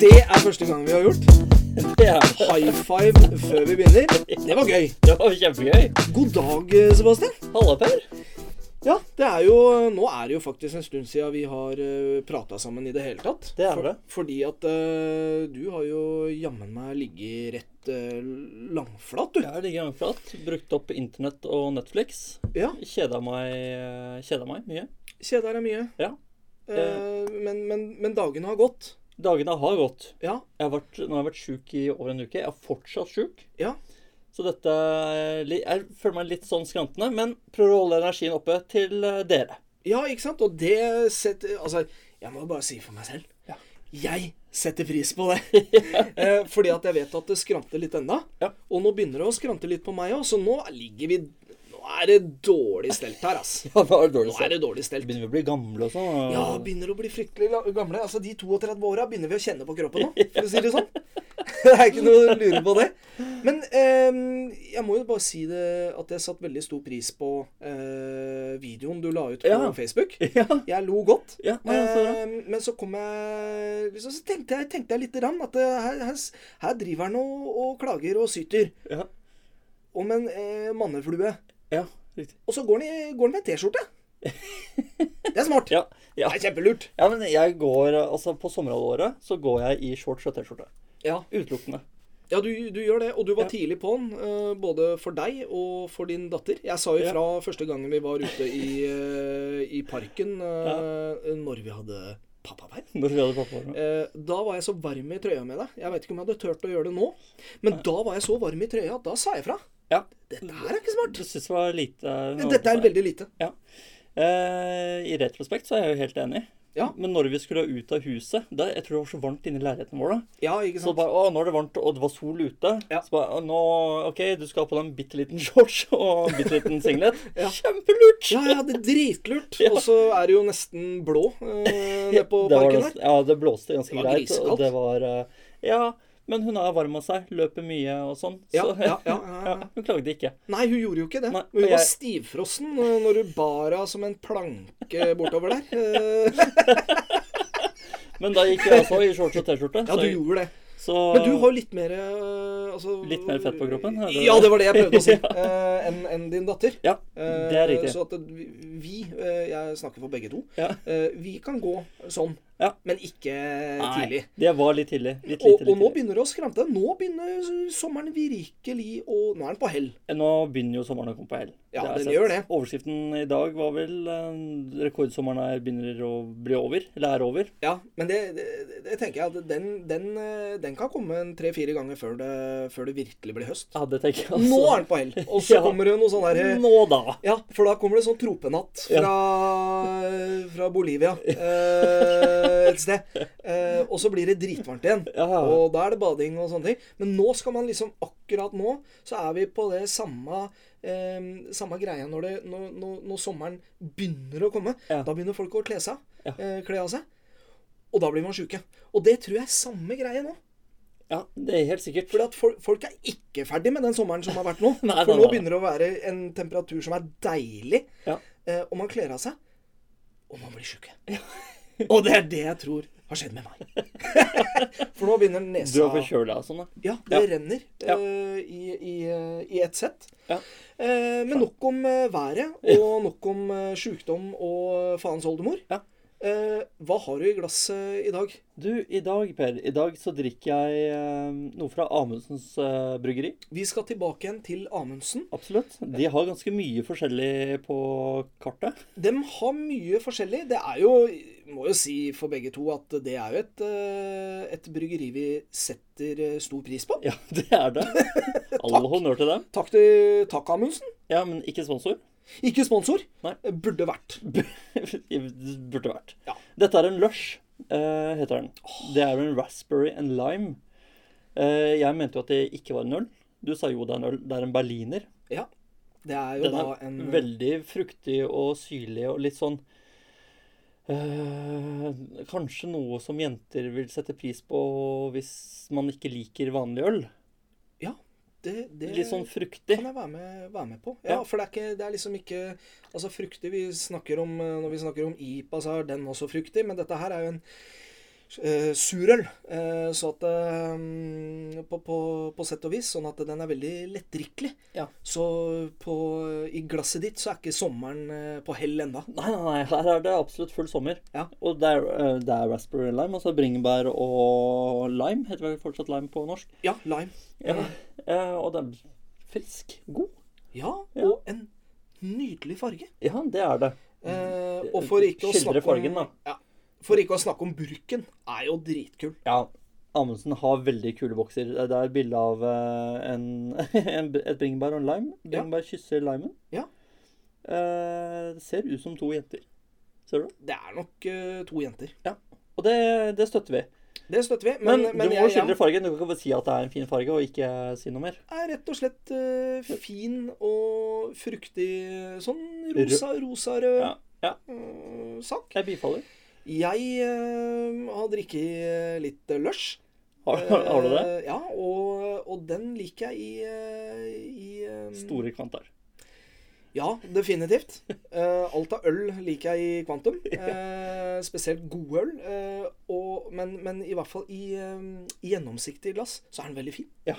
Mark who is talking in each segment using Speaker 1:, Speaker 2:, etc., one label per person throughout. Speaker 1: Det er første gang vi har gjort.
Speaker 2: Det er-
Speaker 1: High five før vi begynner. Det var gøy.
Speaker 2: det var kjempegøy.
Speaker 1: God dag, eh, Sebastian.
Speaker 2: Halla, Per.
Speaker 1: Ja, det er jo, Nå er det jo faktisk en stund siden vi har uh, prata sammen i det hele tatt.
Speaker 2: Det er det.
Speaker 1: fordi at eh, du har jo jammen meg ligget rett eh, langflat, du.
Speaker 2: Jeg ligger langflat. Brukt opp internett og Netflix.
Speaker 1: Ja.
Speaker 2: Kjeda meg, kjeda meg mye.
Speaker 1: Kjeda deg mye.
Speaker 2: Ja.
Speaker 1: Eh, men, men, men dagene har gått.
Speaker 2: Dagene har gått.
Speaker 1: Ja.
Speaker 2: Jeg har vært, nå har jeg vært sjuk i over en uke. Jeg er fortsatt sjuk.
Speaker 1: Ja.
Speaker 2: Så dette er li- Jeg føler meg litt sånn skrantende, men prøver å holde energien oppe til eh, dere.
Speaker 1: Ja, ikke sant? Og det setter Altså, jeg må bare si for meg selv.
Speaker 2: Ja.
Speaker 1: Jeg setter pris på det. Eh, Fordi at jeg vet at det skranter litt ennå.
Speaker 2: Ja.
Speaker 1: Og nå begynner det å skrante litt på meg òg, så nå ligger vi Nå er det dårlig stelt her, ass.
Speaker 2: Ja, nå er det dårlig
Speaker 1: Nå er det dårlig stelt.
Speaker 2: Begynner vi å bli gamle og sånn? og-
Speaker 1: Ja, begynner å bli fryktelig la- gamle. Altså, De 32 åra begynner vi å kjenne på kroppen nå, for å si det sånn. Det er ikke noe å lure på det. Men ehm, jeg må jo bare si det at jeg satte veldig stor pris på eh, videoen du la ut på
Speaker 2: Ja.
Speaker 1: Facebook.
Speaker 2: ja.
Speaker 1: Jeg lo godt.
Speaker 2: Ja, nei, altså, ja.
Speaker 1: Eh, men så kom jeg liksom, Så tenkte jeg, tenkte jeg litt grann at eh, her, her, s- her driver han og, og klager og syter
Speaker 2: ja.
Speaker 1: om en eh, manneflue.
Speaker 2: Ja, riktig.
Speaker 1: Og så går han, i, går han med en T-skjorte. Det er smart.
Speaker 2: Ja, ja.
Speaker 1: Det er kjempelurt.
Speaker 2: ja, men jeg går Altså, på sommerhalvåret så går jeg i shorts og T-skjorte.
Speaker 1: Ja,
Speaker 2: Utelukkende.
Speaker 1: ja du, du gjør det. Og du var
Speaker 2: Ja.
Speaker 1: tidlig på'n, eh, både for deg og for din datter. Jeg sa jo
Speaker 2: Ja.
Speaker 1: fra første gangen vi var ute i, eh, i parken, eh, når vi hadde pappaperm.
Speaker 2: Når vi hadde pappaperm.
Speaker 1: Eh, Da var jeg så varm i trøya med deg. Jeg vet ikke om jeg hadde turt å gjøre det nå. Men da var jeg så varm i trøya at da sa jeg fra.
Speaker 2: Ja.
Speaker 1: Dette her er ikke smart.
Speaker 2: Du syns det var eh, lite
Speaker 1: Dette er veldig lite.
Speaker 2: eh, I retrospekt så er jeg jo helt enig.
Speaker 1: Ja.
Speaker 2: Men når vi skulle ut av huset da, Jeg tror det var så varmt inne i leiligheten vår. da.
Speaker 1: Ja, ikke
Speaker 2: Så
Speaker 1: sant.
Speaker 2: bare, å, nå er det varmt, og det var sol ute.
Speaker 1: Ja.
Speaker 2: Så bare, å, nå, ok, du skal ha på deg en bitte liten shorts og en bitte liten singlet.
Speaker 1: Ja.
Speaker 2: Kjempelurt!
Speaker 1: Ja, ja, det er dritlurt.
Speaker 2: Ja.
Speaker 1: Og så er det jo nesten blå eh, nede på
Speaker 2: Det var
Speaker 1: parken
Speaker 2: nesten-
Speaker 1: her.
Speaker 2: Ja, det blåste ganske
Speaker 1: Det var
Speaker 2: greit.
Speaker 1: grisekaldt.
Speaker 2: Og det var eh, Ja, men hun er varm av seg, løper mye og sånn.
Speaker 1: Ja,
Speaker 2: så
Speaker 1: ja, ja, ja, ja.
Speaker 2: hun klagde ikke.
Speaker 1: Nei, hun gjorde jo ikke det.
Speaker 2: Nei,
Speaker 1: Men hun
Speaker 2: og
Speaker 1: var
Speaker 2: jeg-
Speaker 1: stivfrossen eh, når hun bar av som en planke bortover der. Eh,
Speaker 2: Men da gikk jeg også i shorts og T-skjorte.
Speaker 1: Ja,
Speaker 2: så-
Speaker 1: du gjorde det.
Speaker 2: Så
Speaker 1: Men du har jo litt mer eh, altså,
Speaker 2: Litt mer fett på kroppen, er det-
Speaker 1: Ja, det var det jeg prøvde å si. eh, Enn enn din datter.
Speaker 2: Ja,
Speaker 1: Eh,
Speaker 2: det er riktig.
Speaker 1: Så at vi, vi, eh, jeg snakker for begge to,
Speaker 2: Ja.
Speaker 1: eh, vi kan gå sånn,
Speaker 2: Ja.
Speaker 1: men ikke tidlig.
Speaker 2: Nei, det var litt tidlig. Litt
Speaker 1: Og,
Speaker 2: lite,
Speaker 1: og
Speaker 2: litt
Speaker 1: nå
Speaker 2: tidlig.
Speaker 1: begynner det å skrante. Nå begynner sommeren virkelig å Nå er den på hell.
Speaker 2: Nå begynner jo sommeren å komme på hell.
Speaker 1: Ja,
Speaker 2: har jeg
Speaker 1: den
Speaker 2: sett.
Speaker 1: gjør det.
Speaker 2: Overskriften i dag var vel eh, rekordsommeren er begynner å bli over. Eller er over.
Speaker 1: Ja, Men det, det, det tenker jeg at den, den, eh, den kan komme en tre-fire ganger før det, før det virkelig blir høst.
Speaker 2: Ja, det tenker jeg også.
Speaker 1: Nå er den på hell, og så
Speaker 2: Altså. Ja.
Speaker 1: kommer det noe sånn derre
Speaker 2: Nå da.
Speaker 1: Ja, for da kommer det sånn tropenatt fra, fra Bolivia eh, et sted. Eh, og så blir det dritvarmt igjen.
Speaker 2: Ja.
Speaker 1: Og da er det bading og sånne ting. Men nå skal man liksom akkurat nå, så er vi på det samme eh, samme greia når, det, når, når, når sommeren begynner å komme.
Speaker 2: Ja.
Speaker 1: Da begynner folk å kle seg.
Speaker 2: Ja.
Speaker 1: Eh, kle av seg. Og da blir man sjuke. Og det tror jeg er samme greie nå.
Speaker 2: Ja, det er helt sikkert.
Speaker 1: Fordi at folk, folk er ikke ferdig med den sommeren som har vært nå.
Speaker 2: Nei,
Speaker 1: For nå
Speaker 2: nei, nei.
Speaker 1: begynner det å være en temperatur som er deilig,
Speaker 2: Ja.
Speaker 1: eh, og man kler av seg, og man blir sjuk. og det er det jeg tror har skjedd med meg. For nå begynner
Speaker 2: Du
Speaker 1: nesa
Speaker 2: er forkjøla og sånn, da.
Speaker 1: Ja, det
Speaker 2: Ja.
Speaker 1: renner
Speaker 2: Ja.
Speaker 1: eh, i, i, eh, i ett sett.
Speaker 2: Ja.
Speaker 1: Eh, men nok om eh, været, og nok om eh, sjukdom og faens oldemor.
Speaker 2: Ja.
Speaker 1: Eh, hva har du i glasset i dag?
Speaker 2: Du, i dag, Per, i dag så drikker jeg eh, noe fra Amundsens eh, bryggeri.
Speaker 1: Vi skal tilbake igjen til Amundsen.
Speaker 2: Absolutt. De har ganske mye forskjellig på kartet.
Speaker 1: De har mye forskjellig. Det er jo, må jo si for begge to, at det er jo et, eh, et bryggeri vi setter eh, stor pris på.
Speaker 2: Ja, det er det. All honnør til dem.
Speaker 1: Takk til takk, Amundsen.
Speaker 2: Ja, men ikke sponsor.
Speaker 1: Ikke sponsor. Eh,
Speaker 2: Nei.
Speaker 1: Burde vært.
Speaker 2: Burde vært.
Speaker 1: Ja.
Speaker 2: Dette er en Lush, eh, heter den. Det er en raspberry and lime. Eh, jeg mente jo at det ikke var en øl. Du sa jo det er en øl. Det er en berliner.
Speaker 1: Ja. Det er jo
Speaker 2: Den
Speaker 1: da
Speaker 2: er
Speaker 1: en
Speaker 2: veldig fruktig og syrlig og litt sånn eh, Kanskje noe som jenter vil sette pris på hvis man ikke liker vanlig øl.
Speaker 1: Ja. Det, det
Speaker 2: Litt sånn fruktig.
Speaker 1: kan jeg være med, være med på. Ja,
Speaker 2: Ja.
Speaker 1: For det er, ikke, det er liksom ikke Altså, fruktig vi snakker om eh, Når vi snakker om IPA, så er den også fruktig, men dette her er jo en eh, surøl. Eh, så at eh, på, på, på sett og vis. Sånn at den er veldig lettdrikkelig.
Speaker 2: Ja.
Speaker 1: Så på, i glasset ditt så er ikke sommeren eh, på hell enda.
Speaker 2: Nei, nei, nei, her er det absolutt full sommer.
Speaker 1: Ja.
Speaker 2: Og det er, eh, det er raspberry and lime, altså bringebær og lime. Heter vel fortsatt lime på norsk.
Speaker 1: Ja, lime.
Speaker 2: Ja. Eh, og den er frisk. God.
Speaker 1: Ja,
Speaker 2: Ja.
Speaker 1: og en nydelig farge.
Speaker 2: Ja, det er det.
Speaker 1: Eh, og for ikke å
Speaker 2: Skildre
Speaker 1: snakke
Speaker 2: fargen,
Speaker 1: om
Speaker 2: da.
Speaker 1: Ja, for ikke å snakke om burken, er jo dritkul.
Speaker 2: Ja. Amundsen har veldig kule bokser. Det er et bilde av eh, en, en, et bringebær og en lime.
Speaker 1: Ja.
Speaker 2: Bringebær kysser limen.
Speaker 1: Ja.
Speaker 2: Eh, det ser ut som to jenter. Ser du?
Speaker 1: Det er nok eh, to jenter.
Speaker 2: Og det, det støtter vi.
Speaker 1: Det støtter vi.
Speaker 2: Men,
Speaker 1: Men, men,
Speaker 2: du må
Speaker 1: jeg,
Speaker 2: skildre
Speaker 1: jeg
Speaker 2: fargen. Du kan ikke bare si at det er en fin farge, og ikke si noe mer.
Speaker 1: er rett og slett eh, fin og fruktig sånn rosa, rosa-rød
Speaker 2: Ja. ja.
Speaker 1: eh, sak.
Speaker 2: Jeg bifaller.
Speaker 1: Jeg eh, har drikket eh, litt eh, lush.
Speaker 2: Har, har du det?
Speaker 1: Eh, ja, og, og den liker jeg i, eh, i eh,
Speaker 2: Store kvantar.
Speaker 1: Ja, definitivt. Eh, alt av øl liker jeg i kvantum. Eh, spesielt god øl. Eh, og, men, men i hvert fall i, eh, i gjennomsiktig glass så er den veldig fin.
Speaker 2: Ja.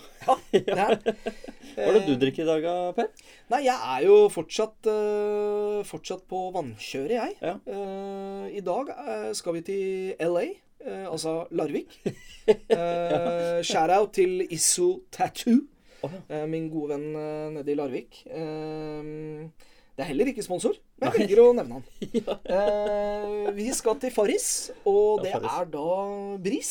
Speaker 1: Det er den. Eh,
Speaker 2: Hva er det du drikker i dag, da, Per?
Speaker 1: Nei, jeg er jo fortsatt, eh, fortsatt på vannkjøret, jeg.
Speaker 2: Ja.
Speaker 1: Eh, I dag eh, skal vi til LA, eh, altså Larvik. Uh, Shout-out til Isso Tattoo,
Speaker 2: Å, ja.
Speaker 1: eh, min gode venn eh, nede i Larvik. Eh, det er heller ikke sponsor, men
Speaker 2: Nei.
Speaker 1: jeg velger å nevne han. Eh, vi skal til Farris, og det
Speaker 2: Ja, Farris.
Speaker 1: er da bris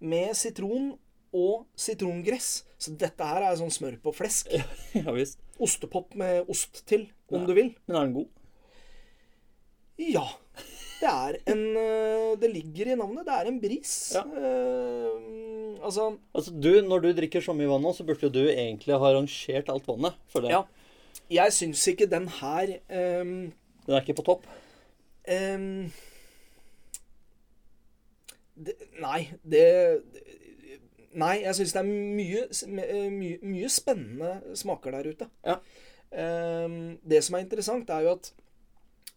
Speaker 1: med sitron og sitrongress. Så dette her er sånn smør på flesk.
Speaker 2: ja visst.
Speaker 1: Ostepop med ost til, om
Speaker 2: Ja.
Speaker 1: du vil.
Speaker 2: Men er den god?
Speaker 1: Ja. Det er en eh, Det ligger i navnet. Det er en bris.
Speaker 2: Ja.
Speaker 1: Eh, altså
Speaker 2: Altså, du, Når du drikker så mye vann nå, så burde jo du egentlig ha rangert alt vannet. føler jeg.
Speaker 1: Ja. Jeg syns ikke den her ehm,
Speaker 2: Den er ikke på topp.
Speaker 1: ehm, det, Nei, det Nei, jeg syns det er mye, eh, mye, mye spennende smaker der ute.
Speaker 2: Ja.
Speaker 1: Ehm, det som er interessant, er jo at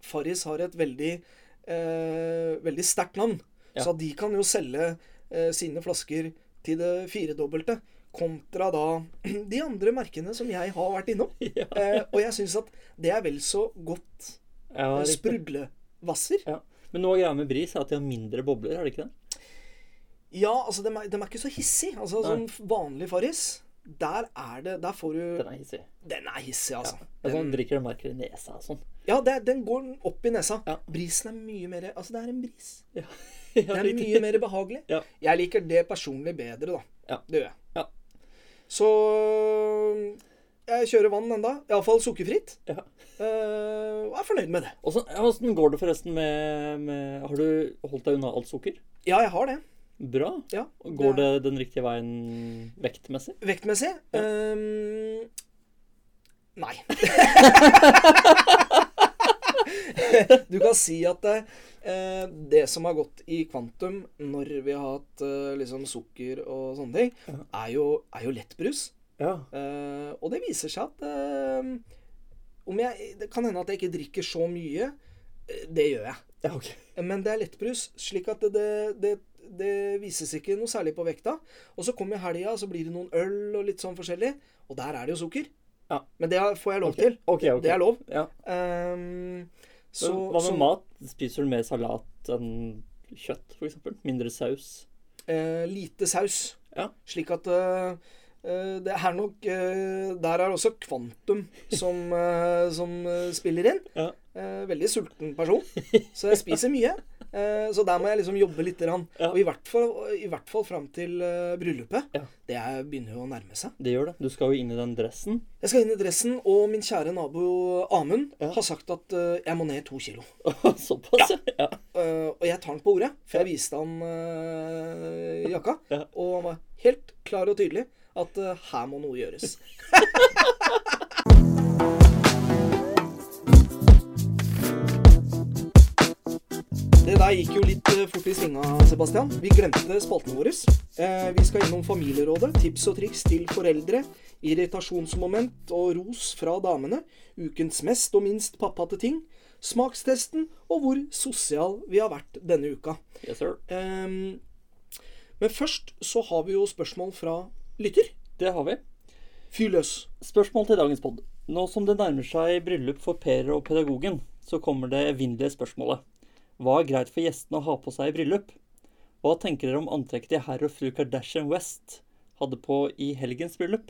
Speaker 1: Farris har et veldig, eh, veldig sterkt navn.
Speaker 2: Ja.
Speaker 1: Så at de kan jo selge eh, sine flasker til det firedobbelte, kontra da de andre merkene som jeg har vært innom.
Speaker 2: Ja.
Speaker 1: Eh, og jeg syns at det er vel så godt
Speaker 2: Ja,
Speaker 1: eh,
Speaker 2: riktig.
Speaker 1: sprudlevasser.
Speaker 2: Ja. Men noe av greia med bris er at de har mindre bobler, er det ikke det?
Speaker 1: Ja, altså, dem er, dem er ikke så hissig. Altså,
Speaker 2: Nei.
Speaker 1: sånn vanlig Farris, der er det Der får du
Speaker 2: Den er hissig.
Speaker 1: Den er hissig, altså.
Speaker 2: Det er sånn du drikker og merker i nesa og sånn.
Speaker 1: Ja, det, er- den går opp i nesa.
Speaker 2: Ja.
Speaker 1: Brisen er mye mer Altså, det er en bris.
Speaker 2: Ja.
Speaker 1: Det
Speaker 2: Ja,
Speaker 1: er
Speaker 2: riktig.
Speaker 1: mye mer behagelig.
Speaker 2: Ja.
Speaker 1: Jeg liker det personlig bedre, da.
Speaker 2: Ja.
Speaker 1: Det gjør jeg.
Speaker 2: Ja.
Speaker 1: Så jeg kjører vann enda. Iallfall sukkerfritt.
Speaker 2: Ja.
Speaker 1: eh, Og er fornøyd med det.
Speaker 2: Åssen ja, hvordan går det forresten med, med Har du holdt deg unna alt sukker?
Speaker 1: Ja, jeg har det.
Speaker 2: Bra.
Speaker 1: Ja,
Speaker 2: Går det den riktige veien vektmessig?
Speaker 1: Vektmessig? ehm, nei. du kan si at eh, det som har gått i kvantum når vi har hatt eh, liksom sukker og sånne ting, er jo, er jo lettbrus.
Speaker 2: Ja.
Speaker 1: Eh, og det viser seg at eh, om jeg, Det kan hende at jeg ikke drikker så mye. Eh, Det gjør jeg.
Speaker 2: ja ok.
Speaker 1: Men det er lettbrus, slik at det, det, det, det vises ikke noe særlig på vekta. Og så kommer helga, så blir det noen øl og litt sånn forskjellig. Og der er det jo sukker.
Speaker 2: Ja.
Speaker 1: Men det får jeg lov til.
Speaker 2: Ok, ok.
Speaker 1: Det er lov.
Speaker 2: Ja.
Speaker 1: Eh, så,
Speaker 2: Hva med
Speaker 1: så-
Speaker 2: mat? Spiser du mer salat enn kjøtt, f.eks.? Mindre saus?
Speaker 1: eh, lite saus.
Speaker 2: Ja.
Speaker 1: Slik at eh, eh, det er nok eh, Der er også kvantum som, eh, som eh, spiller inn.
Speaker 2: Ja.
Speaker 1: Eh, veldig sulten person, så jeg spiser mye. Eh, så der må jeg liksom jobbe litt. Grann.
Speaker 2: Ja.
Speaker 1: Og i hvert fall, i hvert fall fram til eh, bryllupet.
Speaker 2: Ja.
Speaker 1: Det er, begynner jo å nærme seg.
Speaker 2: Det gjør det. Du skal jo inn i den dressen.
Speaker 1: Jeg skal inn i dressen, og min kjære nabo Amund
Speaker 2: Ja.
Speaker 1: har sagt at eh, jeg må ned to kilo.
Speaker 2: Såpass, ja.
Speaker 1: Eh, og jeg tar han på ordet, for jeg viste han eh, jakka.
Speaker 2: Ja.
Speaker 1: Og han var helt klar og tydelig at eh, her må noe gjøres. Det der gikk jo litt eh, fort i svinga, Sebastian. Vi glemte spaltene våre. Eh, vi skal innom Familierådet, tips og triks til foreldre, irritasjonsmoment og ros fra damene, ukens mest og minst pappate ting, smakstesten og hvor sosial vi har vært denne uka.
Speaker 2: Yes, sir.
Speaker 1: Ehm, men først så har vi jo spørsmål fra lytter.
Speaker 2: Det har vi.
Speaker 1: Fyr løs.
Speaker 2: Spørsmål til dagens pod. Nå som det nærmer seg bryllup for Per og pedagogen, så kommer det evinnelige spørsmålet. Hva er greit for gjestene å ha på seg i bryllup? Hva tenker dere om antrekket til herr og fru Kardashian West hadde på i helgens bryllup?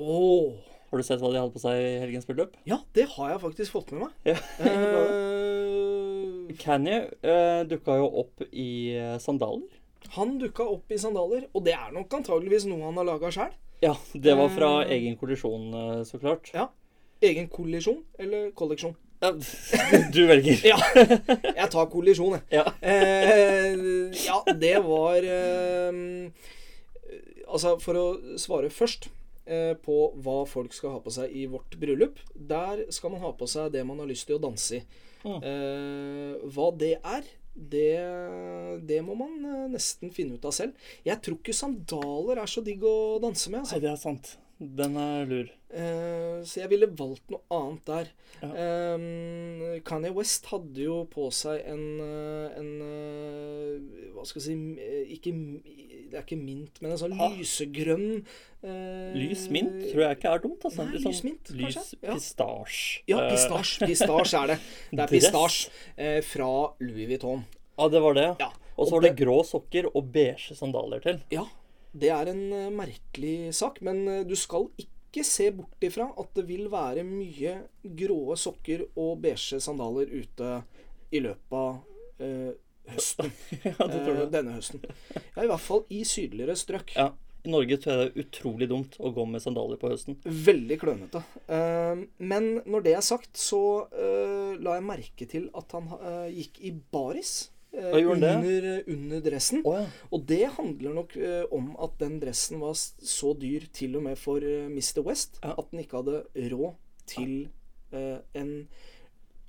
Speaker 1: Åh.
Speaker 2: Har du sett hva de hadde på seg i helgens bryllup?
Speaker 1: Ja, det har jeg faktisk fått med meg.
Speaker 2: Ja.
Speaker 1: Eh,
Speaker 2: Kanye eh, dukka jo opp i eh, sandaler.
Speaker 1: han dukka opp i sandaler, og det er nok antageligvis noe han har laga sjæl.
Speaker 2: Ja, det var fra
Speaker 1: Eh.
Speaker 2: egen kollisjon, eh, så klart.
Speaker 1: Ja. Egen kollisjon eller kolleksjon?
Speaker 2: Ja, Du velger.
Speaker 1: Ja. Jeg tar kollisjon, jeg.
Speaker 2: Ja.
Speaker 1: Eh, ja, det var eh, Altså, for å svare først eh, på hva folk skal ha på seg i vårt bryllup Der skal man ha på seg det man har lyst til å danse i.
Speaker 2: Mm.
Speaker 1: Eh, hva det er, det, det må man eh, nesten finne ut av selv. Jeg tror ikke sandaler er så digg å danse med. Altså.
Speaker 2: Nei, det er sant. Den er lur.
Speaker 1: Eh, så jeg ville valgt noe annet der.
Speaker 2: Ja.
Speaker 1: Eh, Kanye West hadde jo på seg en, eh, en eh, Hva skal jeg si eh, ikke, Det er ikke mint, men en sånn
Speaker 2: Ah.
Speaker 1: lysegrønn eh,
Speaker 2: Lys mint tror jeg ikke er dumt. Altså.
Speaker 1: Nei,
Speaker 2: Litt
Speaker 1: lys mint,
Speaker 2: lys
Speaker 1: kanskje? Ja.
Speaker 2: pistasje.
Speaker 1: Ja,
Speaker 2: Eh,
Speaker 1: pistasje. Pistasje er det. Det er
Speaker 2: dress.
Speaker 1: pistasje eh, fra Louis Vuitton.
Speaker 2: Eh, Ja, det var det.
Speaker 1: Ja.
Speaker 2: Og så var det grå sokker og beige sandaler til.
Speaker 1: Ja, det er en eh, merkelig sak, men eh, du skal ikke se bort ifra at det vil være mye gråe sokker og beige sandaler ute i løpet av eh, høsten.
Speaker 2: ja, det tror
Speaker 1: eh,
Speaker 2: jeg.
Speaker 1: denne høsten. Ja, i hvert fall i sydligere strøk.
Speaker 2: Ja. I Norge tror jeg det er utrolig dumt å gå med sandaler på høsten.
Speaker 1: Veldig klønete. Eh, men når det er sagt, så eh, la jeg merke til at han eh, gikk i baris. eh,
Speaker 2: Ja, gjorde han
Speaker 1: under, under dressen.
Speaker 2: Å ja.
Speaker 1: Og det handler nok eh, om at den dressen var s- så dyr til og med for eh, Mr. West
Speaker 2: Ja.
Speaker 1: at den ikke hadde råd til eh, en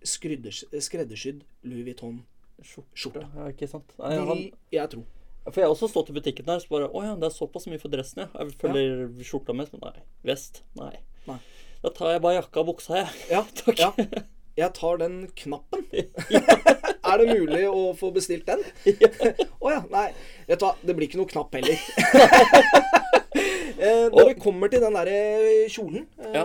Speaker 1: skrydders, skreddersydd Louis Vuitton-skjorte.
Speaker 2: Skjorte. Ja, ikke sant. Nei, han,
Speaker 1: Vil jeg tro.
Speaker 2: for jeg har også stått i butikken der så bare Å ja, det er såpass mye for dressen, ja. Jeg følger skjorta med. Men nei. Vest? Nei.
Speaker 1: Nei.
Speaker 2: Da tar jeg bare jakka og buksa, jeg.
Speaker 1: Ja,
Speaker 2: Takk.
Speaker 1: Ja. Jeg tar den knappen. er det mulig å få bestilt den? Å ja. Nei. Vet du hva, det blir ikke noe knapp heller. eh, når det kommer til den derre kjolen, eh,
Speaker 2: Ja.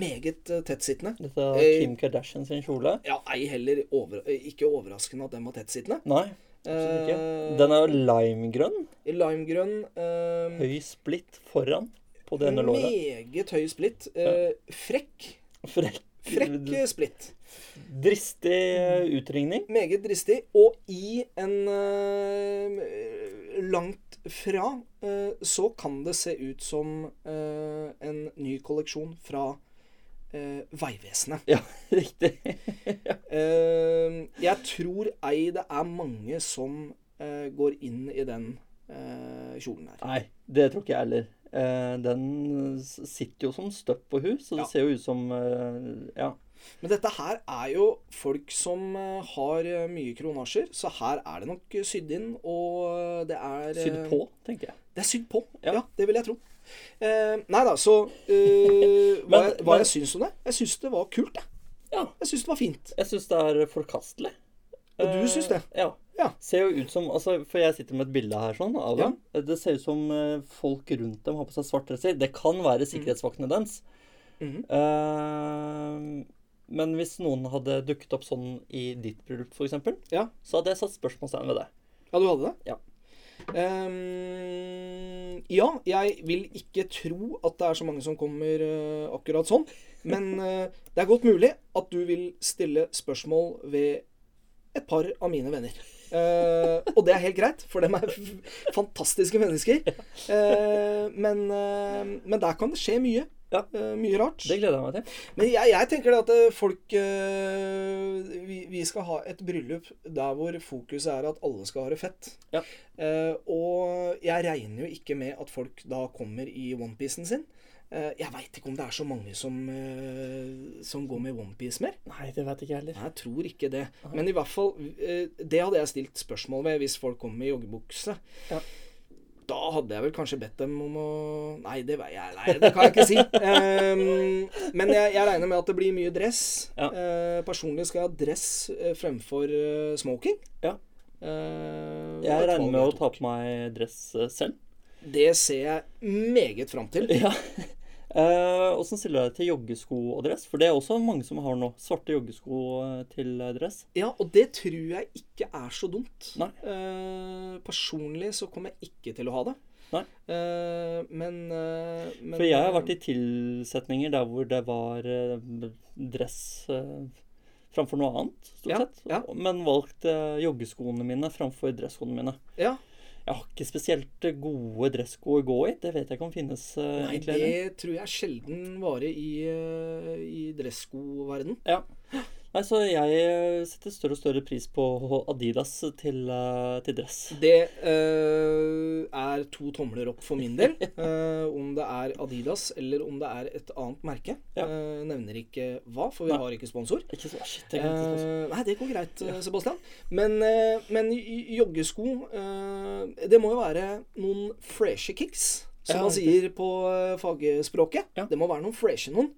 Speaker 1: meget eh, tettsittende.
Speaker 2: Dette er
Speaker 1: Eh.
Speaker 2: Kim Kardashian sin kjole.
Speaker 1: Ja, ei heller over, ikke overraskende at den var tettsittende.
Speaker 2: Nei, absolutt ikke.
Speaker 1: Eh.
Speaker 2: Den er jo limegrønn.
Speaker 1: I limegrønn. Eh,
Speaker 2: Høy splitt foran på det ene låret.
Speaker 1: meget høy splitt. Eh, frekk.
Speaker 2: Frekk,
Speaker 1: Frekk eh, splitt.
Speaker 2: Dristig eh, utringning.
Speaker 1: Meget dristig. Og i en eh, Langt fra eh, så kan det se ut som eh, en ny kolleksjon fra eh, Vegvesenet.
Speaker 2: Ja, riktig.
Speaker 1: Eh, jeg tror ei det er mange som eh, går inn i den eh, kjolen her.
Speaker 2: Nei, det tror ikke jeg heller. Eh, Den s- sitter jo som støpp på hus, så det
Speaker 1: Ja.
Speaker 2: ser jo ut som eh, Ja.
Speaker 1: Men dette her er jo folk som eh, har eh, mye kronasjer, så her er det nok eh, sydd inn, og eh, det er eh,
Speaker 2: Sydd på, tenker jeg.
Speaker 1: Det er sydd på,
Speaker 2: Ja.
Speaker 1: ja. det vil jeg tro. Eh, nei da, så eh, hva,
Speaker 2: Men-
Speaker 1: jeg, hva
Speaker 2: men-
Speaker 1: jeg syns om det? Jeg syns det var kult, jeg.
Speaker 2: Ja.
Speaker 1: Jeg syns det var fint.
Speaker 2: Jeg syns det er forkastelig.
Speaker 1: Og du
Speaker 2: Eh,
Speaker 1: syns det?
Speaker 2: Ja.
Speaker 1: Ja.
Speaker 2: Ser jo ut som altså, For jeg sitter med et bilde her sånn av
Speaker 1: Ja.
Speaker 2: dem. Det ser ut som eh, folk rundt dem har på seg svart dresser. Det kan være sikkerhetsvaktene deres.
Speaker 1: Mhm.
Speaker 2: Eh, men hvis noen hadde dukket opp sånn i ditt bryllup, f.eks.,
Speaker 1: Ja.
Speaker 2: så hadde jeg satt spørsmålstegn ved det.
Speaker 1: Ja, du hadde det?
Speaker 2: Ja.
Speaker 1: Ehm, ja, jeg vil ikke tro at det er så mange som kommer eh, akkurat sånn. Men eh, det er godt mulig at du vil stille spørsmål ved et par av mine venner. Eh, og det er helt greit, for dem er f- fantastiske mennesker. Eh, men, eh, men der kan det skje mye.
Speaker 2: Ja.
Speaker 1: Eh, mye rart.
Speaker 2: Det gleder jeg meg til.
Speaker 1: Men jeg, jeg tenker det at eh, folk eh, vi, vi skal ha et bryllup der hvor fokuset er at alle skal ha det fett.
Speaker 2: Ja.
Speaker 1: Eh, og jeg regner jo ikke med at folk da kommer i onepiecen sin. Eh, jeg veit ikke om det er så mange som, eh, som går med onepiece mer.
Speaker 2: Nei, det veit ikke jeg heller.
Speaker 1: Nei, jeg tror ikke det. Men i hvert fall eh, Det hadde jeg stilt spørsmål ved hvis folk kom med joggebukse.
Speaker 2: Ja.
Speaker 1: Da hadde jeg vel kanskje bedt dem om å Nei, det, var jeg, nei, det kan jeg ikke si. Ehm, men jeg, jeg regner med at det blir mye dress.
Speaker 2: Ja.
Speaker 1: Eh, personlig skal jeg ha dress eh, fremfor eh, smoking.
Speaker 2: Ja.
Speaker 1: Eh,
Speaker 2: Jeg
Speaker 1: det var et
Speaker 2: regner
Speaker 1: valg
Speaker 2: med å
Speaker 1: jeg
Speaker 2: ta på meg dress eh, selv.
Speaker 1: tok. Det ser jeg meget fram til.
Speaker 2: Ja. Eh, Åssen stiller du deg til joggesko og dress? For det er også mange som har nå. Svarte joggesko eh, til eh, dress.
Speaker 1: Ja, og det tror jeg ikke er så dumt.
Speaker 2: Nei.
Speaker 1: Eh, personlig så kommer jeg ikke til å ha det.
Speaker 2: Nei.
Speaker 1: Eh, men, eh, men
Speaker 2: For jeg har vært i tilsetninger der hvor det var eh, dress eh, framfor noe annet, stort
Speaker 1: Ja,
Speaker 2: sett.
Speaker 1: ja.
Speaker 2: Men valgt eh, joggeskoene mine framfor dresskoene mine.
Speaker 1: eh, Ja,
Speaker 2: Jeg har ikke spesielt eh, gode dressko å gå i. Det vet jeg ikke om finnes. eh,
Speaker 1: Nei,
Speaker 2: egentlig, eller?
Speaker 1: det tror jeg sjelden varer i, eh, i dresskoverden.
Speaker 2: Ja. Nei, så jeg eh, setter større og større pris på Adidas til, eh, til dress.
Speaker 1: Det eh, er to tomler opp for min del. eh, om det er Adidas eller om det er et annet merke.
Speaker 2: Ja.
Speaker 1: Eh, nevner ikke hva, for vi
Speaker 2: Nei.
Speaker 1: har ikke sponsor.
Speaker 2: Ikke så, shit, jeg glemte det også.
Speaker 1: Eh, nei, det går greit, eh, Sebastian. Men, eh, men j- joggesko eh, Det må jo være noen freshe kicks, som
Speaker 2: Ja,
Speaker 1: man
Speaker 2: riktig.
Speaker 1: sier på eh, fagspråket.
Speaker 2: Ja.
Speaker 1: Det må være noen freshe noen.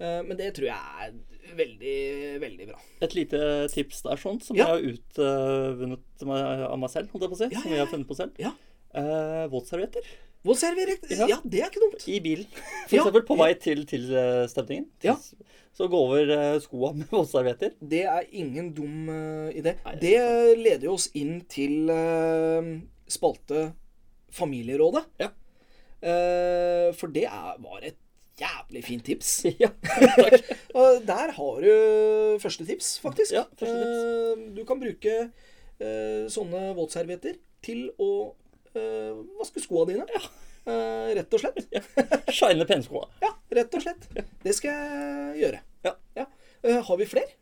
Speaker 1: Eh, men det tror jeg er veldig, veldig bra.
Speaker 2: Et lite tips der sånn, som
Speaker 1: Ja.
Speaker 2: jeg har utvunnet meg- av meg selv, holdt jeg på å si.
Speaker 1: Ja,
Speaker 2: Som
Speaker 1: ja,
Speaker 2: jeg har
Speaker 1: ja.
Speaker 2: funnet på selv.
Speaker 1: Ja.
Speaker 2: Eh, Våtservietter
Speaker 1: Våtservietter.
Speaker 2: Ja.
Speaker 1: Ja. ja, det er ikke dumt.
Speaker 2: i bilen. For
Speaker 1: Ja.
Speaker 2: eksempel på vei til tilstemningen.
Speaker 1: Ja.
Speaker 2: Så gå over eh, skoa med våtservietter.
Speaker 1: Det er ingen dum eh, idé.
Speaker 2: Nei,
Speaker 1: det leder jo oss inn til eh, spalte Familierådet.
Speaker 2: Ja.
Speaker 1: Eh, for det er, var et jævlig fint tips.
Speaker 2: ja. Takk.
Speaker 1: Og der har du første tips, faktisk.
Speaker 2: Ja, første
Speaker 1: Eh, du kan bruke eh, sånne våtservietter til å eh, vaske skoa dine. Eh, rett og slett.
Speaker 2: Shine penskoa.
Speaker 1: Ja, rett og slett. Det skal jeg gjøre.
Speaker 2: Ja.
Speaker 1: Eh, har vi flere?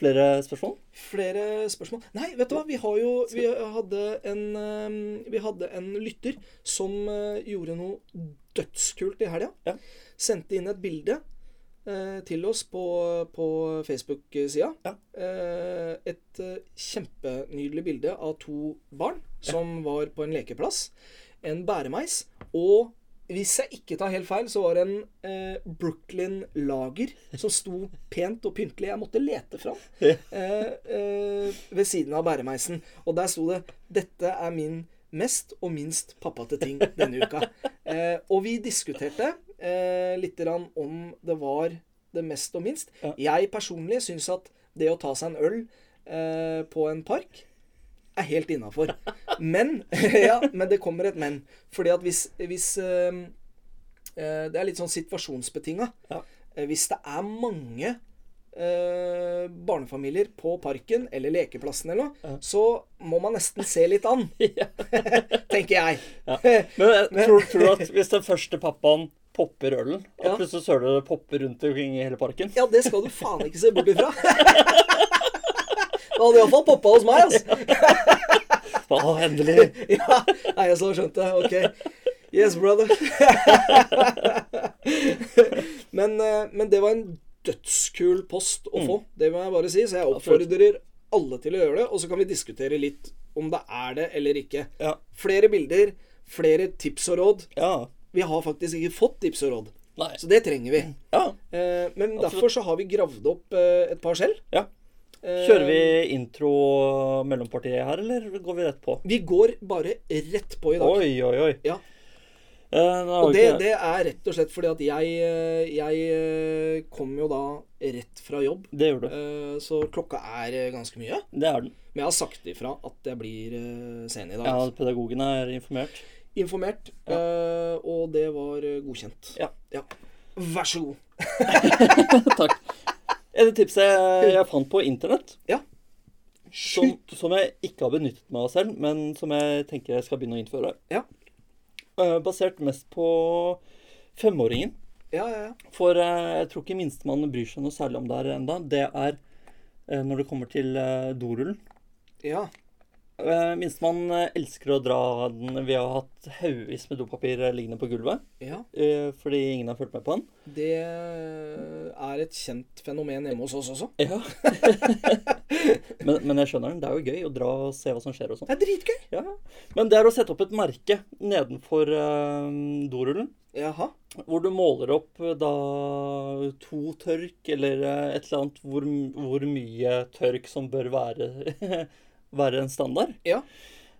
Speaker 2: Flere spørsmål?
Speaker 1: Flere spørsmål? Nei, vet du hva. Vi, har jo, vi, hadde en, eh, vi hadde en lytter som eh, gjorde noe dødskult i helga.
Speaker 2: Ja.
Speaker 1: Sendte inn et bilde eh, til oss på, på Facebook-sida.
Speaker 2: Ja.
Speaker 1: Eh, et eh, kjempenydelig bilde av to barn som var på en lekeplass. En bæremeis. Og hvis jeg ikke tar helt feil, så var det en eh, Brooklyn Lager som sto pent og pyntelig. Jeg måtte lete fram eh, eh, ved siden av bæremeisen. Og der sto det 'Dette er min mest og minst pappate ting denne uka'. Eh, og vi diskuterte eh, litt grann om det var det mest og minst.
Speaker 2: Ja.
Speaker 1: Jeg personlig syns at det å ta seg en øl eh, på en park er helt innafor. Men ja, men det kommer et men. Fordi at hvis, hvis eh, eh, Det er litt sånn situasjonsbetinga.
Speaker 2: Ja.
Speaker 1: Eh, Hvis det er mange eh, barnefamilier på parken eller lekeplassen eller noe,
Speaker 2: Ja.
Speaker 1: så må man nesten se litt an,
Speaker 2: Ja.
Speaker 1: tenker jeg.
Speaker 2: Ja. Men jeg tror, tror du at hvis den første pappaen popper ølen,
Speaker 1: Ja.
Speaker 2: at plutselig søler det popper rundt omkring i hele parken
Speaker 1: Ja, det skal du faen ikke se bort ifra. Det hadde iallfall poppa hos meg, altså.
Speaker 2: Å, endelig!
Speaker 1: Ja, Nei, jeg så skjønte det. Ok. Yes, brother. men, eh, men det var en dødskul post
Speaker 2: Mm.
Speaker 1: å få. Det må jeg bare si. Så jeg oppfordrer alle til å gjøre det. Og så kan vi diskutere litt om det er det eller ikke.
Speaker 2: Ja.
Speaker 1: Flere bilder, flere tips og råd.
Speaker 2: ja.
Speaker 1: Vi har faktisk ikke fått tips og råd,
Speaker 2: Nei.
Speaker 1: så det trenger vi.
Speaker 2: Ja.
Speaker 1: Eh, Men derfor så har vi gravd opp eh, et par selv.
Speaker 2: ja.
Speaker 1: Eh,
Speaker 2: Kjører vi intro mellompartiet her, eller går vi rett på?
Speaker 1: Vi går bare rett på i dag.
Speaker 2: Oi, oi, oi.
Speaker 1: Ja.
Speaker 2: Eh, nå har
Speaker 1: Og
Speaker 2: vi
Speaker 1: det,
Speaker 2: ikke-
Speaker 1: det er rett og slett fordi at jeg, eh, jeg eh, kom jo da rett fra jobb.
Speaker 2: det gjør du.
Speaker 1: eh, Så klokka er eh, ganske mye.
Speaker 2: Det er den.
Speaker 1: Men jeg har sagt ifra at jeg blir eh, sen i dag.
Speaker 2: Ja, pedagogen er informert.
Speaker 1: Informert. eh, Og det var eh, godkjent.
Speaker 2: Ja.
Speaker 1: Vær så god.
Speaker 2: Takk. Et tips jeg, jeg fant på internett, som,
Speaker 1: Skyt.
Speaker 2: som jeg ikke har benyttet meg av selv, men som jeg tenker jeg skal begynne å innføre.
Speaker 1: Ja.
Speaker 2: Eh, Basert mest på femåringen.
Speaker 1: Ja, ja, ja.
Speaker 2: For eh, jeg tror ikke minstemann bryr seg noe særlig om det her enda. Det er eh, når det kommer til eh, dorullen.
Speaker 1: ja.
Speaker 2: Eh, Minstemann eh, elsker å dra den. Vi har hatt haugevis med dopapir eh, liggende på gulvet
Speaker 1: Ja,
Speaker 2: eh, fordi ingen har fulgt med på den.
Speaker 1: det eh, er et kjent fenomen hjemme hos oss også.
Speaker 2: Ja. men, men jeg skjønner den. Det er jo gøy å dra og se hva som skjer og sånn.
Speaker 1: Det er dritgøy.
Speaker 2: Ja. Men det er å sette opp et merke nedenfor eh, dorullen.
Speaker 1: Jaha.
Speaker 2: Hvor du måler opp eh, da to tørk, eller eh, et eller annet hvor, m- hvor mye tørk som bør være, være en standard.
Speaker 1: Ja.